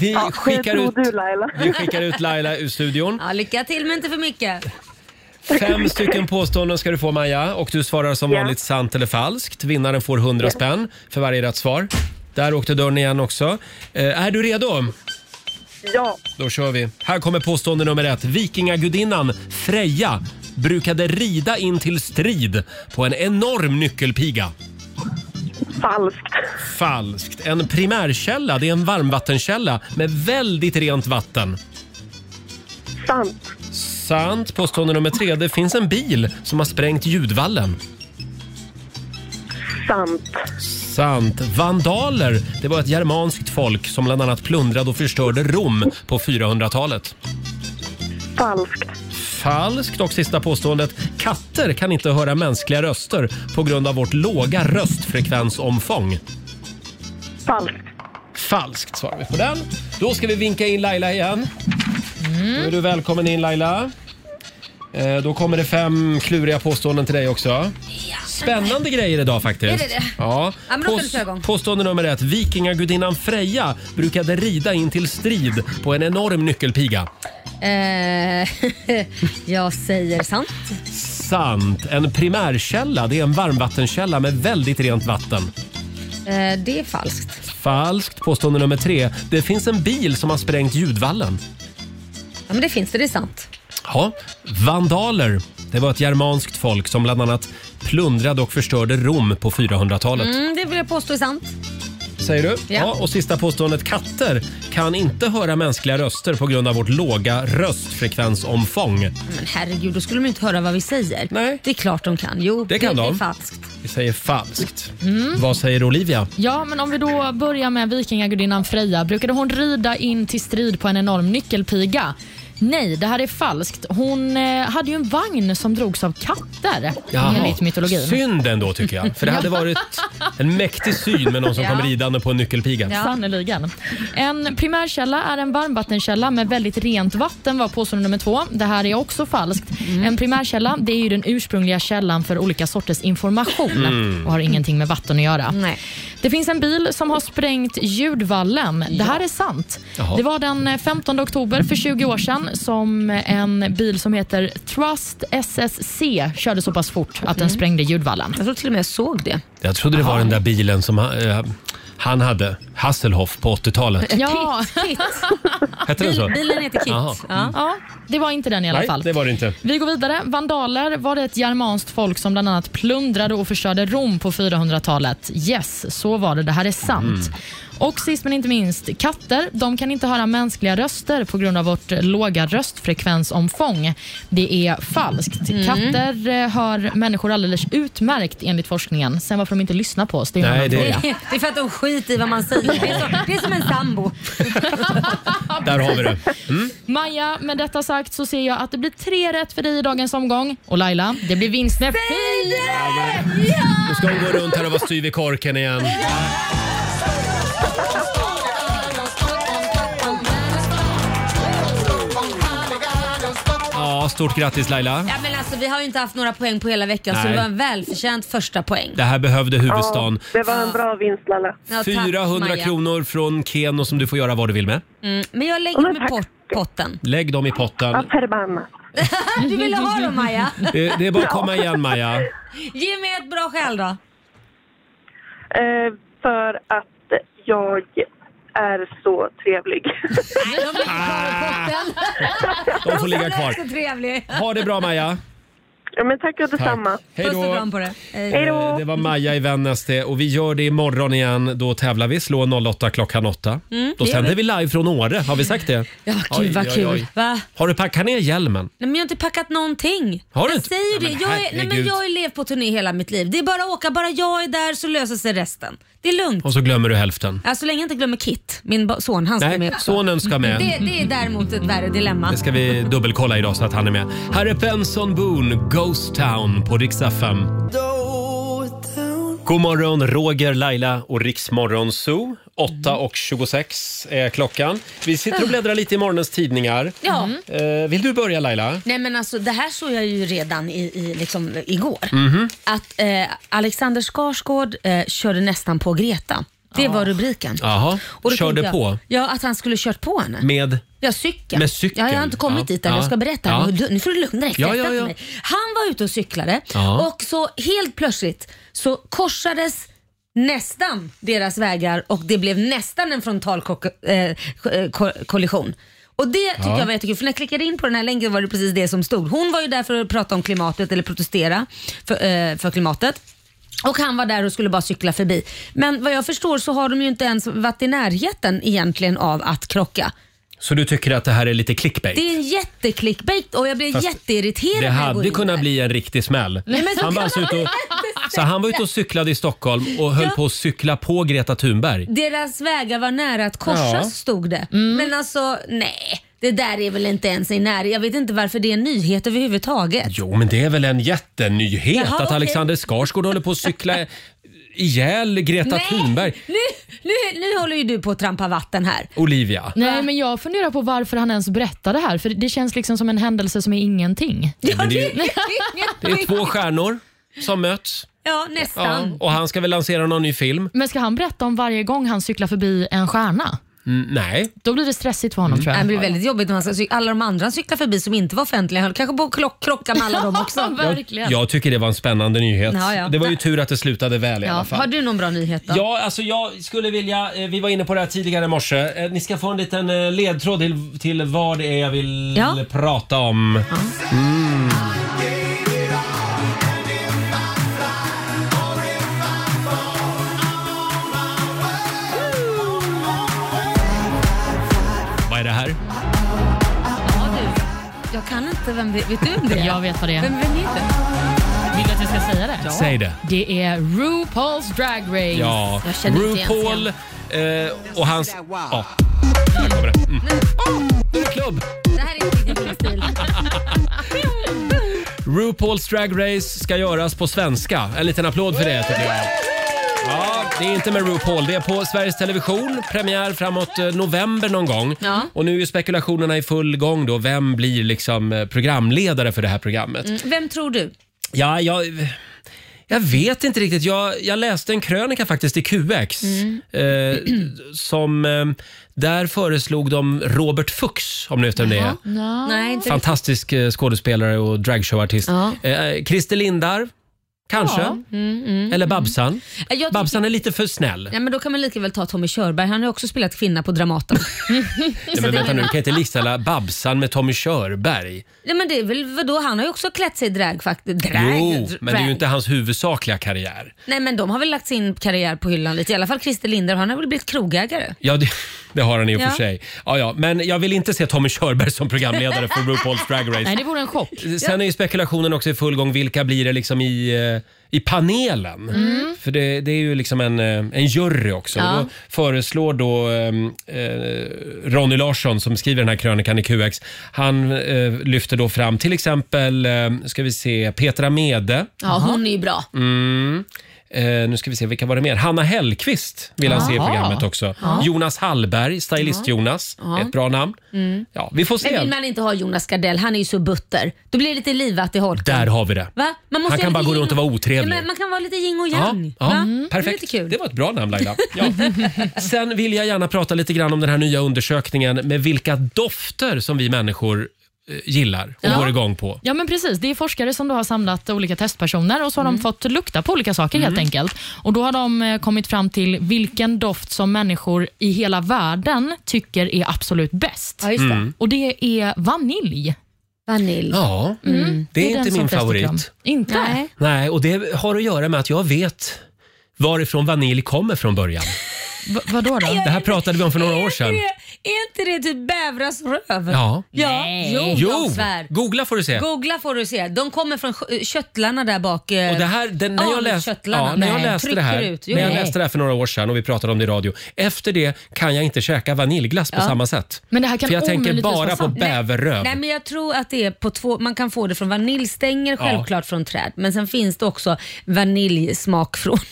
Vi skickar tror ut, du, Laila. vi skickar ut Laila ur studion. Ja, lycka till men inte för mycket. Fem stycken påståenden ska du få Maja och du svarar som Ja. vanligt sant eller falskt. Vinnaren får 100 spänn för varje rätt svar. Där åkte dörren igen också. Eh, Är du redo? Ja, Då kör vi. Här kommer påstående nummer ett. Vikingagudinnan Freja brukade rida in till strid på en enorm nyckelpiga. falskt. Falskt. En primärkälla det är en varmvattenkälla med väldigt rent vatten. Sant. Sant. Påstående nummer tre. Det finns en bil som har sprängt ljudvallen. Sant. Sant. Vandaler det var ett germanskt folk som bland annat plundrade och förstörde Rom på 400-talet. Falskt. Falskt. Och sista påståendet. Katter kan inte höra mänskliga röster på grund av vårt låga röstfrekvensomfång. Falskt. Falskt svarar vi på den. Då ska vi vinka in Laila igen. Då är du välkommen in Laila. Eh, Då kommer det fem kluriga påståenden till dig också. Spännande grejer idag faktiskt. Är det det? Ja. Ja, men då kan vi köra igång. påstående nummer ett. Vikingagudinnan Freja brukade rida in till strid på en enorm nyckelpiga. Eh, jag säger sant. Sant. En primärkälla det är en varmvattenkälla med väldigt rent vatten. Eh, det är falskt. Falskt. Påstående nummer tre. Det finns en bil som har sprängt ljudvallen. Ja men det finns det, det är sant. Ja, vandaler. Det var ett germanskt folk som bland annat plundrade och förstörde Rom på 400-talet. Mm, det vill jag påstå är sant. Säger du? Ja. Och sista påståendet. Katter kan inte höra mänskliga röster på grund av vårt låga röstfrekvensomfång. Men herregud, då skulle de inte höra vad vi säger. Nej. Det är klart de kan. Jo, Det kan det, de. är falskt. Vi säger falskt. Vad säger Olivia? Ja, men om vi då börjar med vikingagudinnan Freja. Brukade hon rida in till strid på en enorm nyckelpiga? Nej, det här är falskt. Hon eh, hade ju en vagn som drogs av katter, enligt mytologin. Synd ändå tycker jag. För det hade varit en mäktig syn med någon som kom Ja. ridande på en nyckelpiga. Ja. Sannerligen. En primärkälla är en varmvattenkälla med väldigt rent vatten var påstående nummer två. Det här är också falskt. Mm. En primärkälla det är ju den ursprungliga källan för olika sorters information Mm. och har ingenting med vatten att göra. Nej. Det finns en bil som har sprängt ljudvallen. Det här är sant. Jaha. Det var den 15 oktober för 20 år sedan som en bil som heter Trust SSC körde så pass fort att Mm. den sprängde ljudvallen. Jag tror till och med jag såg det. Jag trodde det var den där bilen som han, eh, han hade, Hasselhoff på 80-talet. Ja. Kit, Kit. Hette den så? Bil, bilen heter Kit. Jaha. Ja. Ja, det var inte den i alla Nej, fall. det var det inte. Vi går vidare. Vandaler var det ett germanskt folk som bland annat plundrade och förstörde Rom på 400-talet. Yes, så var det. Det här är sant. Mm. Och sist men inte minst, katter de kan inte höra mänskliga röster på grund av vårt eh, låga röstfrekvensomfång. Det är falskt. Katter eh, hör människor alldeles utmärkt enligt forskningen. Sen varför de inte lyssnar på oss, det är en Nej, annan det- fråga. Det är för att de skiter i vad man säger. Det är, som, det är som en sambo. Där har vi det. Maja, med detta sagt så ser jag att det blir tre rätt för dig i dagens omgång. Och Laila, det blir vinst med Nu ska hon gå runt här och vara styv i korken igen. Ja, stort grattis Laila. Ja, men alltså, vi har ju inte haft några poäng på hela veckan så Nej. det var en välförtjänt första poäng. Det här behövde huvudstaden. Det var en bra vinst Lalla. Ja, tack, 400 Maja. kronor från Keno som du får göra vad du vill med. Mm, men jag lägger dem i tack. pot- potten. Lägg dem i potten. Ja, förbannat. Du ville ha dem Maja. Det, det är bara att komma igen Maja. Ge mig ett bra skäl då. Eh, för att jag är så trevlig. Nej, de är inte kvar i potten. De får ligga kvar. Det är så trevlig. Ha det bra Maja. ja, men tack och Tack. detsamma. Hej Puss och då. kram på det. Hej. Hej Eh, då! Det var Maja i Vännäs det och vi gör det imorgon igen. Då tävlar vi. Slå 08 klockan 8. Då Mm, det gör sänder vi live från Åre. Har vi sagt det? Ja, Oj, gud vad oj, kul. oj. Va? Har du packat ner hjälmen? Nej, men jag har inte packat någonting. Har du jag inte? säger Nej, men det. Jag är, nej, men herregud. jag har ju levt på turné hela mitt liv. Det är bara att åka. Bara jag är där så löser sig resten. Det är lugnt. Och så glömmer du hälften. Ja, så länge jag inte glömmer Kit, min ba- son. Han ska Nej, med också. sonen ska med. Det, det är däremot ett värre dilemma. Det ska vi dubbelkolla idag så att han är med. Här är Benson Boone, Ghost Town på Rix FM. God morgon, Roger, Laila och Riksmorgon Zoo. 8.26 är klockan. Vi sitter och bläddrar lite i morgonens tidningar. Ja. Eh, vill du börja Laila? Nej men alltså det här såg jag ju redan i, i, liksom, igår. Mhm. Att eh, Alexander Skarsgård eh, körde nästan på Greta. Det var rubriken. Jaha, Och då tänkte körde jag, på Ja, att han skulle kört på henne. med... Ja, cykeln. Med cykeln? Ja, jag har inte kommit Ja. dit än. Jag ska Ja. berätta. Ja. Nu- Nu får du lugna dig. Ja, Berätta ja, för ja. mig. Han var ute och cyklade Ja. och så helt plötsligt så korsades nästan deras vägar och det blev nästan en frontalkollision. Eh, ko- eh, ko- kollision. och det tycker jag var jättekul, för när jag klickade in på den här länken var det precis det som stod. Hon var ju där för att prata om klimatet eller protestera för, eh, för klimatet. Och han var där och skulle bara cykla förbi. Men vad jag förstår så har de ju inte ens varit i närheten egentligen av att krocka. Så du tycker att det här är lite clickbait? Det är en jätteclickbait och jag blev Fast jätteirriterad Det när jag går hade in kunnat där. bli en riktig smäll. men så han, var kan alltså man ute och, inte så han var ute och cyklade i Stockholm och höll Ja. på att cykla på Greta Thunberg. Deras vägar var nära att korsas Ja. stod det. Men alltså nej, det där är väl inte ens i närheten. Jag vet inte varför det är en nyhet överhuvudtaget. Jo, men det är väl en jättenyhet Jaha, att okej. Alexander Skarsgård håller på att cykla ihjäl Greta Thunberg. nu, nu, nu håller ju du på att trampa vatten här. Olivia. Nej, men jag funderar på varför han ens berättar det här. För det känns liksom som en händelse som är ingenting. Ja, men det det är- Det är två stjärnor som möts ja ja, nästan. och han ska väl lansera någon ny film. Men ska han berätta om varje gång han cyklar förbi en stjärna? Mm, nej, Då blir det stressigt för honom tror Det jag. blir väldigt jobbigt när man ska cyk- alla de andra cyklar förbi som inte var offentliga. Jag höll kanske på att klock- krocka med alla dem också. Verkligen. jag tycker det var en spännande nyhet. Ja, ja. Det var ju tur att det slutade väl i alla Ja. fall. Har du någon bra nyhet då? Ja, alltså jag skulle vilja, eh, vi var inne på det här tidigare i morse. Eh, Ni ska få en liten eh, ledtråd till, till vad det är jag vill Ja. prata om. Mm. Vad är det här? Ja, du. Jag kan inte, vem vet, vet du om det är? Jag vet vad det är. Vem, vem är det? Vill du att jag ska säga det? Säg det. Det är RuPaul's Drag Race. Ja, Jag känner inte igen RuPaul eh, och hans... Ja, där kommer det. Mm. Oh, nu är det klubb! Det här är inte riktigt RuPaul's Drag Race ska göras på svenska. En liten applåd för det tycker jag. Ja, det är inte med RuPaul. Det är på Sveriges Television. Premiär framåt eh, november någon gång. Ja. Och nu är ju spekulationerna i full gång då. Vem blir liksom eh, programledare för det här programmet? Mm, Vem tror du? Ja, jag... Jag vet inte riktigt. Jag, jag läste en krönika faktiskt i QX. Eh, som, eh, där föreslog de Robert Fuchs, om ni vet vem det är. Nej, inte Fantastisk eh, skådespelare och dragshowartist. Ja. Mm, Eh, Christer Lindarw, kanske. Eller Babsan. Jag tycker- Babsan är lite för snäll. Ja, men då kan man lika väl ta Tommy Körberg. Han har ju också spelat kvinna på Dramaten. Nej, men vänta nu, du kan inte likställa Babsan med Tommy Körberg. Nej, men det är väl, vadå? Han har ju också klätt sig i drag faktiskt. Drag, Jo, drag. men det är ju inte hans huvudsakliga karriär. Nej men de har väl lagt sin karriär på hyllan lite. I alla fall Christer Linder, han har väl blivit krogägare. Ja, det, det har han i och för Ja. sig. Ja, ja, men jag vill inte se Tommy Körberg som programledare för RuPaul's Drag Race. Nej, det vore en chock. Sen är ju spekulationen också i full gång. Vilka blir det liksom i, eh, i panelen? För det, det är ju liksom en, eh, en jury också. Mm. Ja. Och då föreslår då eh, eh, Ronny Larsson som skriver den här krönikan i QX. Han eh, lyfter då fram till exempel, eh, ska vi se, Petra Mede. Ja, hon är ju bra. Mm. Eh, nu ska vi se, vilka var det mer? Hanna Hellqvist vill han se i Jaha. programmet också. Jonas Hallberg, stylist-Jonas. Ett bra namn. Ja, vi får Mm. Men se. vill man inte ha Jonas Gardell, han är ju så butter. Då blir det lite livat i holken. Där har vi det. Va? Man Han ju kan ha bara lite gå runt och yin- vara otrevlig. Nej, men man kan vara lite yin och Ja, yang. ja, Mm. va? perfekt. Det är lite Det kul. var ett bra namn Laila. Ja. Sen vill jag gärna prata lite grann om den här nya undersökningen med vilka dofter som vi människor eh, gillar och Ja. går igång på. Ja, men precis. Det är forskare som då har samlat olika testpersoner och så har de fått lukta på olika saker helt enkelt. Och Då har de eh, kommit fram till vilken doft som människor i hela världen tycker är absolut bäst. Ja, just det. Mm. Och Det är vanilj. Vanilj. Ja, Mm. Mm. det är, den inte som min flest tycker om. favorit. Inte? Nej. Nej, och det har att göra med att jag vet varifrån vanilj kommer från början. V- vadå då? Det här pratade vi om för några år Är sedan. inte det- Är inte det typ bävrars röv? Ja. ja. Nej. Jo, Jo, de svär. googla får du se. Googla får du se. De kommer från kö- köttlarna där bak. eh, Och det här, den, när, jag läst, Alköttlarna. ja, när, jag Nej, läste det trycker här, ut. Jo, när jag nej. läste det här för några år sedan och vi pratade om det i radio. Efter det kan jag inte käka vaniljglass på samma sätt. Men det här kan för jag tänker omöjligtvis bara vara på sant. Nej. bäverröv. Nej, men jag tror att det är på två, man kan få det från vaniljstänger, självklart från träd. Men sen finns det också vaniljsmak från...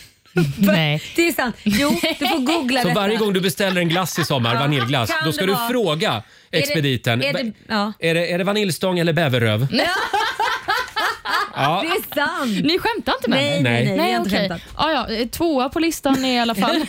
Nej. Det är sant. Jo, du får googla Så detta. varje gång du beställer en glass i sommar, Ja, vaniljglass, kan då ska det du vara. fråga det- expediten. är det- Mm. ja. är, det, är det vaniljstång eller bäverröv? Det Ja, är sant. Ni skämtar inte med Nej, mig? nej, nej. vi har inte okej. skämtat. Ja, ja, eh, tvåa på listan är i alla fall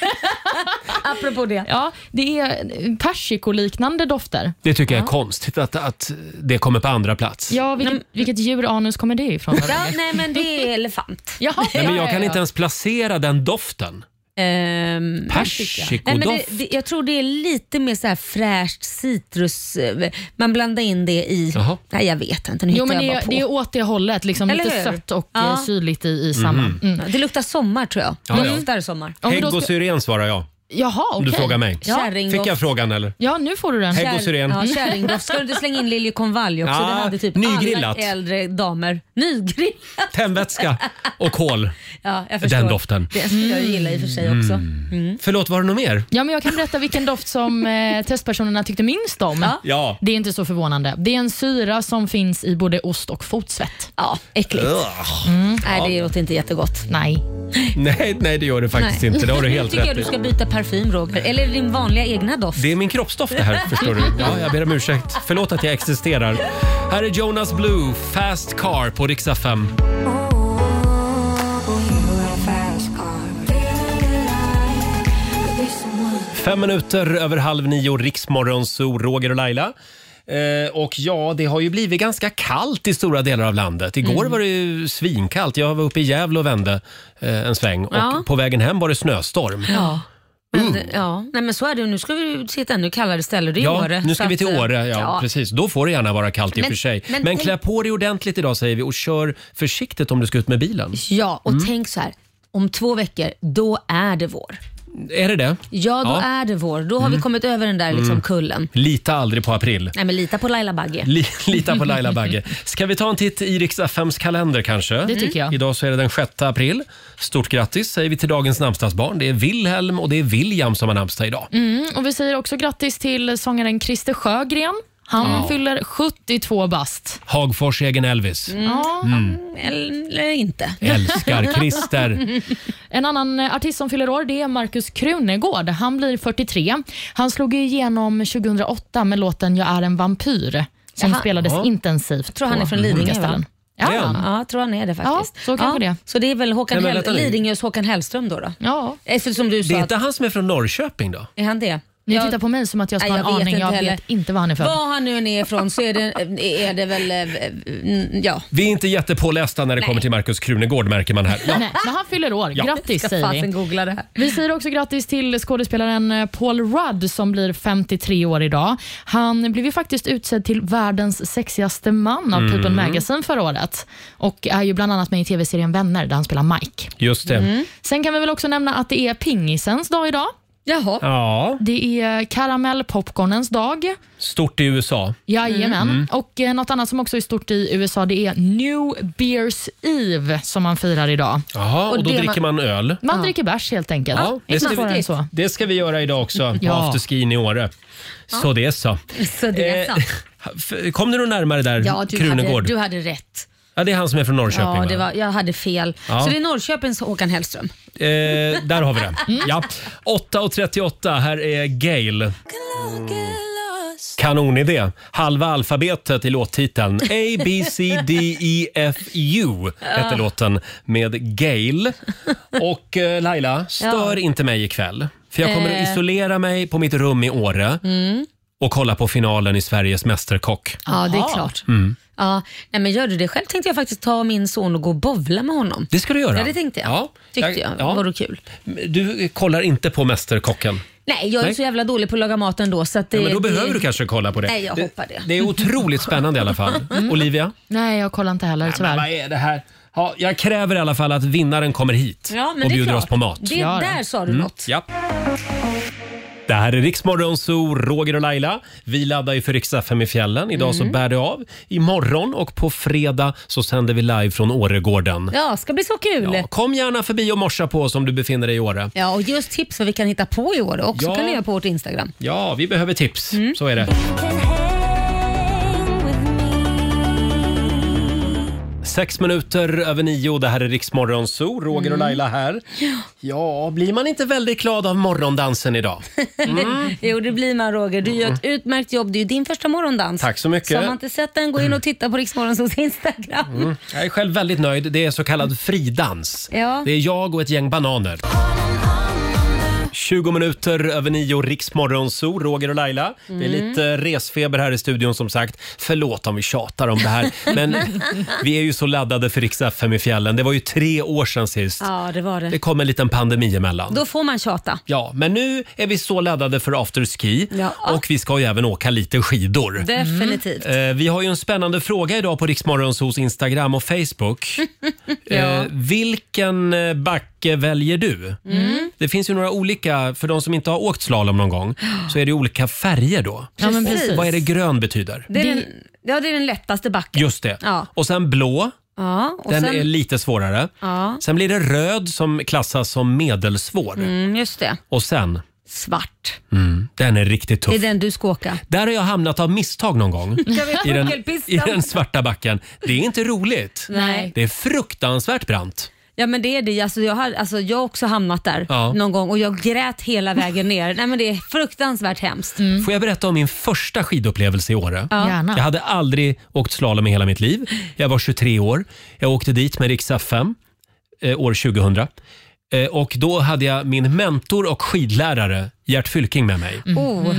Apropå det. ja, det är eh, persikoliknande dofter. det tycker jag är konstigt att, att det kommer på andra plats. Ja, vilket, vilket djur anus kommer det ifrån? Ja, nej, men det är elefant. Jaha, Nej, men ja, jag ja, kan ja. inte ens placera den doften. Ehm, Nej, men det, Persikodoft. det, jag tror det är lite mer så här fräscht citrus. eh, Man blandar in det i... Jaha. Nej, jag vet inte. Nu Jo, hittar men jag det, bara är- på. det är åt det hållet. Liksom Eller lite hur? sött och Ja. eh, syrligt i, i samma. Mm. Det luktar sommar tror jag. Ja, ja. Det luktar sommar. Om vi Hägg då och ska- syren svarar jag, om Jaha, okej. du frågar mig. Kärringdoft. Fick jag frågan eller? Ja, nu får du den. Hägg och syren. Ja, kärringdoft. Ska du inte slänga in liljekonvalj också? Ja, det hade typ Ah, nygrillat. alla äldre damer. Nygrillat. Tändvätska och kol. Ja, jag förstår. Den doften. Mm. Det skulle jag gilla i och för sig också. Förlåt, var det något mer? Ja, men jag kan berätta vilken doft som eh, testpersonerna tyckte minst om. Ja. Ja. Det är inte så förvånande. Det är en syra som finns i både ost och fotsvett. Ja, äckligt. Mm. Nej, det låter inte jättegott. Nej. Nej, nej, det gör det faktiskt Nej. inte. Det har du helt tycker jag rätt du i. ska byta parfym Roger. Eller din vanliga egna doft. Det är min kroppsdoft det här, förstår du. Ja, jag ber om ursäkt. Förlåt att jag existerar. Här är Jonas Blue, Fast Car på riksdag 5. Fem minuter över halv nio, Riksmorgon, så Roger och Laila. Eh, och ja, det har ju blivit ganska kallt i stora delar av landet. Igår var det ju svinkallt. Jag var uppe i Gävle och vände eh, en sväng och Ja. på vägen hem var det snöstorm. Ja. Men, ja. Nej, men så är det. Nu ska vi till ett ännu kallare ställe. Det är Ja, Åre. nu ska Så vi till att, eh, Åre. Ja, Precis. Då får det gärna vara kallt i och Men- för sig. Men, men tänk- klä på dig ordentligt idag säger vi och kör försiktigt om du ska ut med bilen. Ja, och tänk så här. Om två veckor, då är det vår. Är det det? Ja, då Ja. är det vår. Då har vi kommit över den där liksom, kullen. Lita aldrig på april. Nej, men lita på Laila Bagge. Li- Lita på Laila Bagge. Ska vi ta en titt i riks FMs kalender kanske? Det Mm. tycker jag. Idag så är det den 6 april. Stort grattis säger vi till dagens namnsdagsbarn. Det är Wilhelm och det är William som har namnsdag idag. Mm, och vi säger också grattis till sångaren Christer Sjögren. Han Ja. fyller 72 bast. Hagfors egen Elvis. Mm. Ja. Mm. Eller inte. Älskar Christer. En annan eh, artist som fyller år det är Markus Krunegård. Han blir 43. Han slog ju igenom 2008 med låten Jag är en vampyr som Jaha. spelades Ja. intensivt tror han på är från olika Lidingö, va? ställen. Ja, Är han? Ja, jag tror han är det faktiskt. Ja, så kanske det är. Så det är väl Håkan Nej, men Hell- vänta nu. Lidingös Håkan Hellström då? då? ja. Eftersom du Det är sa att... inte han som är från Norrköping då? Är han det? Ni Ja. tittar på mig som att jag ska Nej, ha jag vet en aning. inte Jag heller. vet inte var han är född. Var han nu än är ifrån så är det, är det väl... eh, mm, Ja. Vi är inte jättepålästa när det kommer till Markus Krunegård märker man här. Ja. Nej, men han fyller år. Grattis Ska säger fasen vi. googla det här. Vi säger också grattis till skådespelaren eh, Paul Rudd som blir 53 år idag. Han blev ju faktiskt utsedd till världens sexigaste man av People Mm. Magazine förra året och är ju bland annat med i tv-serien Vänner där han spelar Mike. Just det. Sen kan vi väl också nämna att det är pingisens dag idag. Jaha. Ja, Det är karamellpopcornens dag. stort i USA. Mm. Jajamän. Och eh, något annat som också är stort i USA det är New Beers Eve som man firar idag. Jaha, och, Och då det dricker man öl. Man dricker bärs helt enkelt. Ah. Ja, det Inte ska vi- svårare än så. Det ska vi göra idag också på Ja. afterskin i Åre. Så det är så. Så det är Eh, sant. f- Kom du nog närmare där, Ja, du hade, Krunegård? du hade rätt. Ja, det är han som är från Norrköping. Ja, va? det var, jag hade fel. Ja. Så det är Norrköpings Håkan Hellström. Eh, där har vi det. Mm. Ja. 8.38, här är Gail. Kanonidé. Halva alfabetet i låttiteln. A, B, C, D, E, F, U hette låten med Gail. Och eh, Laila, stör Ja. inte mig ikväll. För jag kommer att Eh. Mm. isolera mig på mitt rum i Åre och kolla på finalen i Sveriges Mästerkock. Ja, det är klart. Mm. Ja, nej, men gör du det själv tänkte jag faktiskt ta min son och gå och bowla med honom. Det ska du göra. Ja, det tänkte jag. Ja. Tyckte Ja, jag. ja. Vore kul. Du kollar inte på Mästerkocken? Nej, jag är Nej. så jävla dålig på att laga mat ändå. Så att det, Ja, men då det, behöver du kanske kolla på det. Nej, jag det, hoppar det. Det är otroligt spännande i alla fall. Mm. Olivia? Nej, jag kollar inte heller tyvärr. Men vad är det här? Ja, jag kräver i alla fall att vinnaren kommer hit Ja, men och det är bjuder klart. oss på mat. Det, Ja, då. där sa du något. Ja. Mm. Det här är Riksmorgon Zoo, Roger och Laila. Vi laddar ju för riks FM i fjällen. Idag så bär det av. Imorgon och på fredag så sänder vi live från Åregården. Ja, ska bli så kul. Ja, Ja. kom gärna förbi och morsa på oss om du befinner dig i Åre. och just tips vad vi kan hitta på i år också Ja. kan ni göra på vårt Instagram. Ja, vi behöver tips. Så är det. Sex minuter över nio, det här är Riksmorgon Zoo, Roger och Laila här. Ja, blir man inte väldigt glad av morgondansen idag? Jo, det blir man Roger. Du gör ett utmärkt jobb. Det är ju din första morgondans. Mm. Tack så mycket. Mm. Så har man inte sett den, gå in och titta på Riksmorgonsols Instagram. Jag är själv väldigt nöjd. Det är så kallad fridans. Ja. Det är jag och ett gäng bananer. 20 minuter över nio, Riksmorgon Zoo, Roger och Laila. Det är lite resfeber här i studion som sagt. Förlåt om vi tjatar om det här, men vi är ju så laddade för Rix FM i fjällen. Det var ju tre år sedan sist. Ja, det var Det det. kom en liten pandemi emellan. Då får man tjata. Ja, men nu är vi så laddade för afterski Ja. och vi ska ju även åka lite skidor. Definitivt. Eh, Vi har ju en spännande fråga idag på Riksmorgonsos Instagram och Facebook. Eh, Vilken eh, backe väljer du? Mm. Det finns ju några olika, för de som inte har åkt slalom någon gång, så är det ju olika färger då. Ja, men Precis. precis. Vad är det grön betyder? Det är, Det- Den, ja, det är den lättaste backen. Just det. Ja. Och sen blå, Ja, och den sen, är lite svårare. ja, Sen blir det röd som klassas som medelsvår. mm, just det. Och sen, Svart. mm, den är riktigt tuff. Det är den du ska åka. Där har jag hamnat av misstag någon gång. I den, I puckelpistan? den svarta backen. Det är inte roligt. Nej. Det är fruktansvärt brant. Ja men det är det. Alltså, jag, har, alltså, jag har också hamnat där Ja. någon gång och jag grät hela vägen ner. Nej men Det är fruktansvärt hemskt. Får jag berätta om min första skidupplevelse i Åre? Jag Gärna. hade aldrig åkt slalom i hela mitt liv. Jag var 23 år. Jag åkte dit med Rix FM eh, år 2000. Eh, och då hade jag min mentor och skidlärare Gert Fylking med mig. Oh.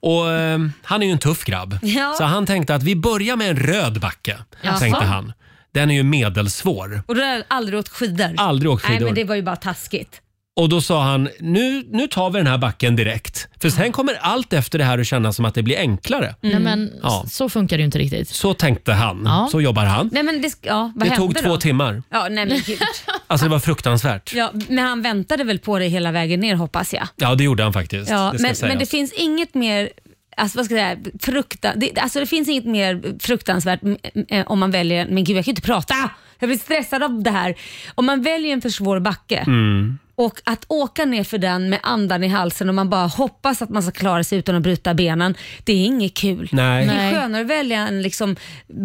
Och eh, Han är ju en tuff grabb. Ja. Mm. Så han tänkte att vi börjar med en röd backe. Jaså? Tänkte han. Den är ju medelsvår. Och du har aldrig åkt skidor? Aldrig åkt skidor. Nej men det var ju bara taskigt. Och då sa han, nu, nu tar vi den här backen direkt. För sen kommer allt efter det här att kännas som att det blir enklare. Nej, men s- Ja. Så funkar det ju inte riktigt. Så tänkte han. Ja. Så jobbar han. Nej men det, sk- ja, vad Det hände tog två då? timmar. Ja, nej men gud. Alltså det var fruktansvärt. Ja, Ja, men han väntade väl på dig hela vägen ner hoppas jag. det gjorde han faktiskt. Ja, det ska men, sägas. men det finns inget mer Alltså, vad ska jag säga, frukta, det, alltså det finns inget mer fruktansvärt m- m- eh, om man väljer, Mm. men gud jag kan ju inte prata, jag blir stressad av det här. Om man väljer en för svår backe Och att åka ner för den med andan i halsen och man bara hoppas att man ska klara sig utan att bryta benen, det är inget kul. Nej. Det är Nej. skönare att välja en liksom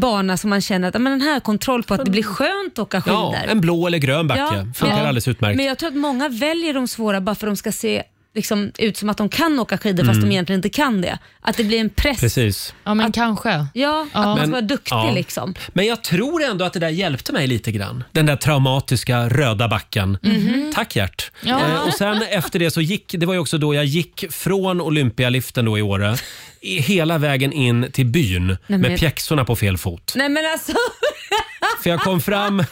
bana som man känner att "Ah, men den här har kontroll på att det blir skönt att åka skidor. Ja, en blå eller grön backe. Funkar men- alldeles utmärkt. Men jag tror att många väljer de svåra bara för att de ska se liksom, ut som att de kan åka skidor fast de egentligen inte kan det. Att det blir en press. Mm. Precis. Ja, men kanske. Ja, att man Men- ska vara duktig ja. liksom. Men jag tror ändå att det där hjälpte mig lite grann. Den där traumatiska röda backen. Tack Gert. Ja. Eh, och sen efter det så gick, det var ju också då jag gick från Olympialiften då i Åre i- hela vägen in till byn med men- pjäxorna på fel fot. Nej men alltså, För jag kom fram,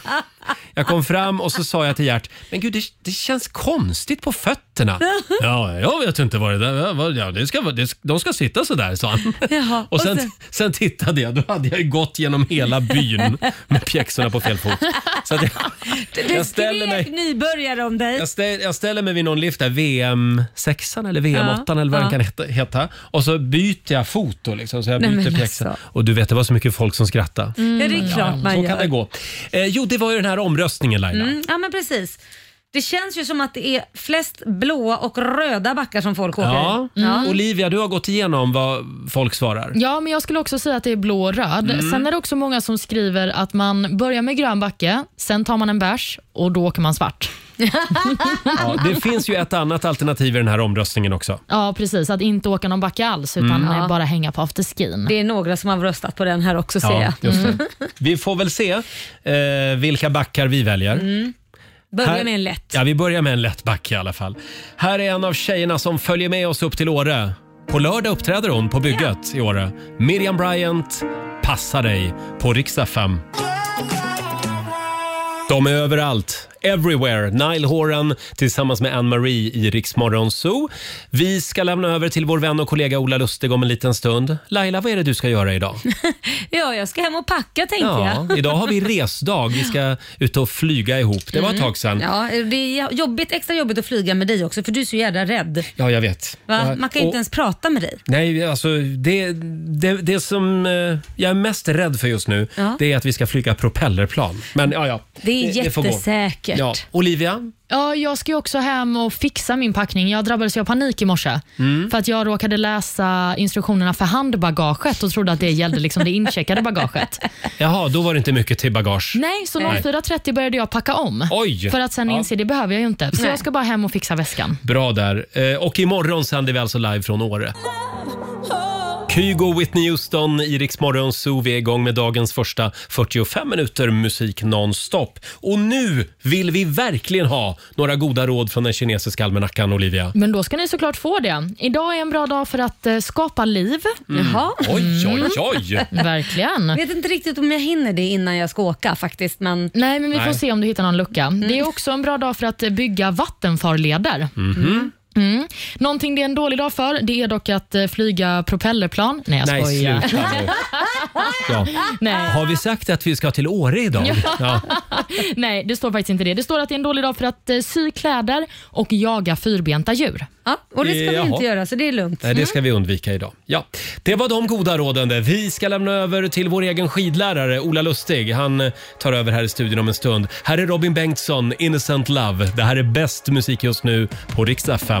jag kom fram och så sa jag till Gert, men gud det, det känns konstigt på fötterna. Ja, jag vet inte vad det där vad- ja, det ska, vara- det, de ska sitta så där sa han. Jaha, och och sen, sen... sen- tittade jag, då hade jag ju gått genom hela byn med pjäxorna på fel fot. Så att jag, det jag ställer skrek mig... nybörjare om dig. Jag ställer, jag ställer mig vid någon lift där, VM 6 eller VM 8 Ja, eller vad den ja. kan heta, heta. Och så byter jag fot då liksom, så jag Nej, byter men pjäxor. alltså. Mm. Och du vet, det var så mycket folk som skrattade. ja, det är klart man Så gör. kan det gå. Eh, jo, det var ju den här omröstningen Laila. Mm, ja men precis. Det känns ju som att det är flest blåa och röda backar som folk åker Ja. Mm. i. Ja. Olivia, du har gått igenom vad folk svarar. Ja, men jag skulle också säga att det är blå och röd. Sen är det också många som skriver att man börjar med grön backe, sen tar man en bärs och då åker man svart. Ja, det finns ju ett annat alternativ i den här omröstningen också. Ja, precis. Att inte åka någon backe alls, utan eh, bara hänga på afterskin. Det är några som har röstat på den här också ser jag. just det. Vi får väl se eh, vilka backar vi väljer. Börja Här- med en lätt. Ja, vi börjar med en lätt backe i alla fall. Här är en av tjejerna som följer med oss upp till Åre. På lördag uppträder hon på bygget i Åre. Miriam Bryant, Passa dig på riksdag 5. De är överallt. Everywhere. Nile Horan tillsammans med Anne-Marie i Rix Morgon Zoo. Vi ska lämna över till vår vän och kollega Ola Lustig om en liten stund. Laila, vad är det du ska göra idag? Ja, jag ska hem och packa tänkte Ja, jag. idag har vi resdag. Vi ska ut och flyga ihop. Det var ett tag sedan. Mm. Ja, det är jobbigt, extra jobbigt att flyga med dig också för du är så jävla rädd. Ja, jag vet. Va? Jag- Man kan och- ju inte ens prata med dig. Nej, alltså det, det, det som eh, jag är mest rädd för just nu Ja. det är att vi ska flyga propellerplan. Men ja, ja. Det är får gå. jättesäkert. Ja. Olivia, Ja, jag ska ju också hem och fixa min packning. Jag drabbades ju av panik i morse för att jag råkade läsa instruktionerna för handbagaget och trodde att det gällde liksom det incheckade bagaget. jaha, då var det inte mycket till bagage. Mm. Nej, så 04.30 började jag packa om Oj! för att sen Ja. inse det behöver jag ju inte. Så Nej. jag ska bara hem och fixa väskan. Bra där. Eh, Och imorgon sänder vi alltså live från Åre. Kygo Whitney Houston, Iriks morgonzoo. Vi är igång med dagens första 45 minuter musik nonstop. Och nu vill vi verkligen ha några goda råd från den kinesiska almanackan, Mm. Olivia. Men då ska ni såklart få det. Idag är en bra dag för att eh, skapa liv. Mm. Jaha. Oj, oj, oj! Verkligen. Jag vet inte riktigt om jag hinner det innan jag ska åka faktiskt. Men Nej, men vi får Nej. se om du hittar någon lucka. Det är också en bra dag för att eh, bygga vattenfarleder. Mm-hmm. Mm. Någonting det är en dålig dag för, det är dock att eh, flyga propellerplan. Nej, jag Nej, skojar. sluta nu. Ja. Nej. Har vi sagt att vi ska till Åre idag? Ja. Nej, det står faktiskt inte det. Det står att det är en dålig dag för att eh, sy kläder och jaga fyrbenta djur. ja, och det ska Jaha. vi inte göra så det är lugnt. Nej, det ska vi undvika idag. Ja. Det var de goda råden. det. Vi ska lämna över till vår egen skidlärare Ola Lustig. Han eh, tar över här i studion om en stund. Här är Robin Bengtsson, Innocent Love. Det här är bäst musik just nu på riksdag 5.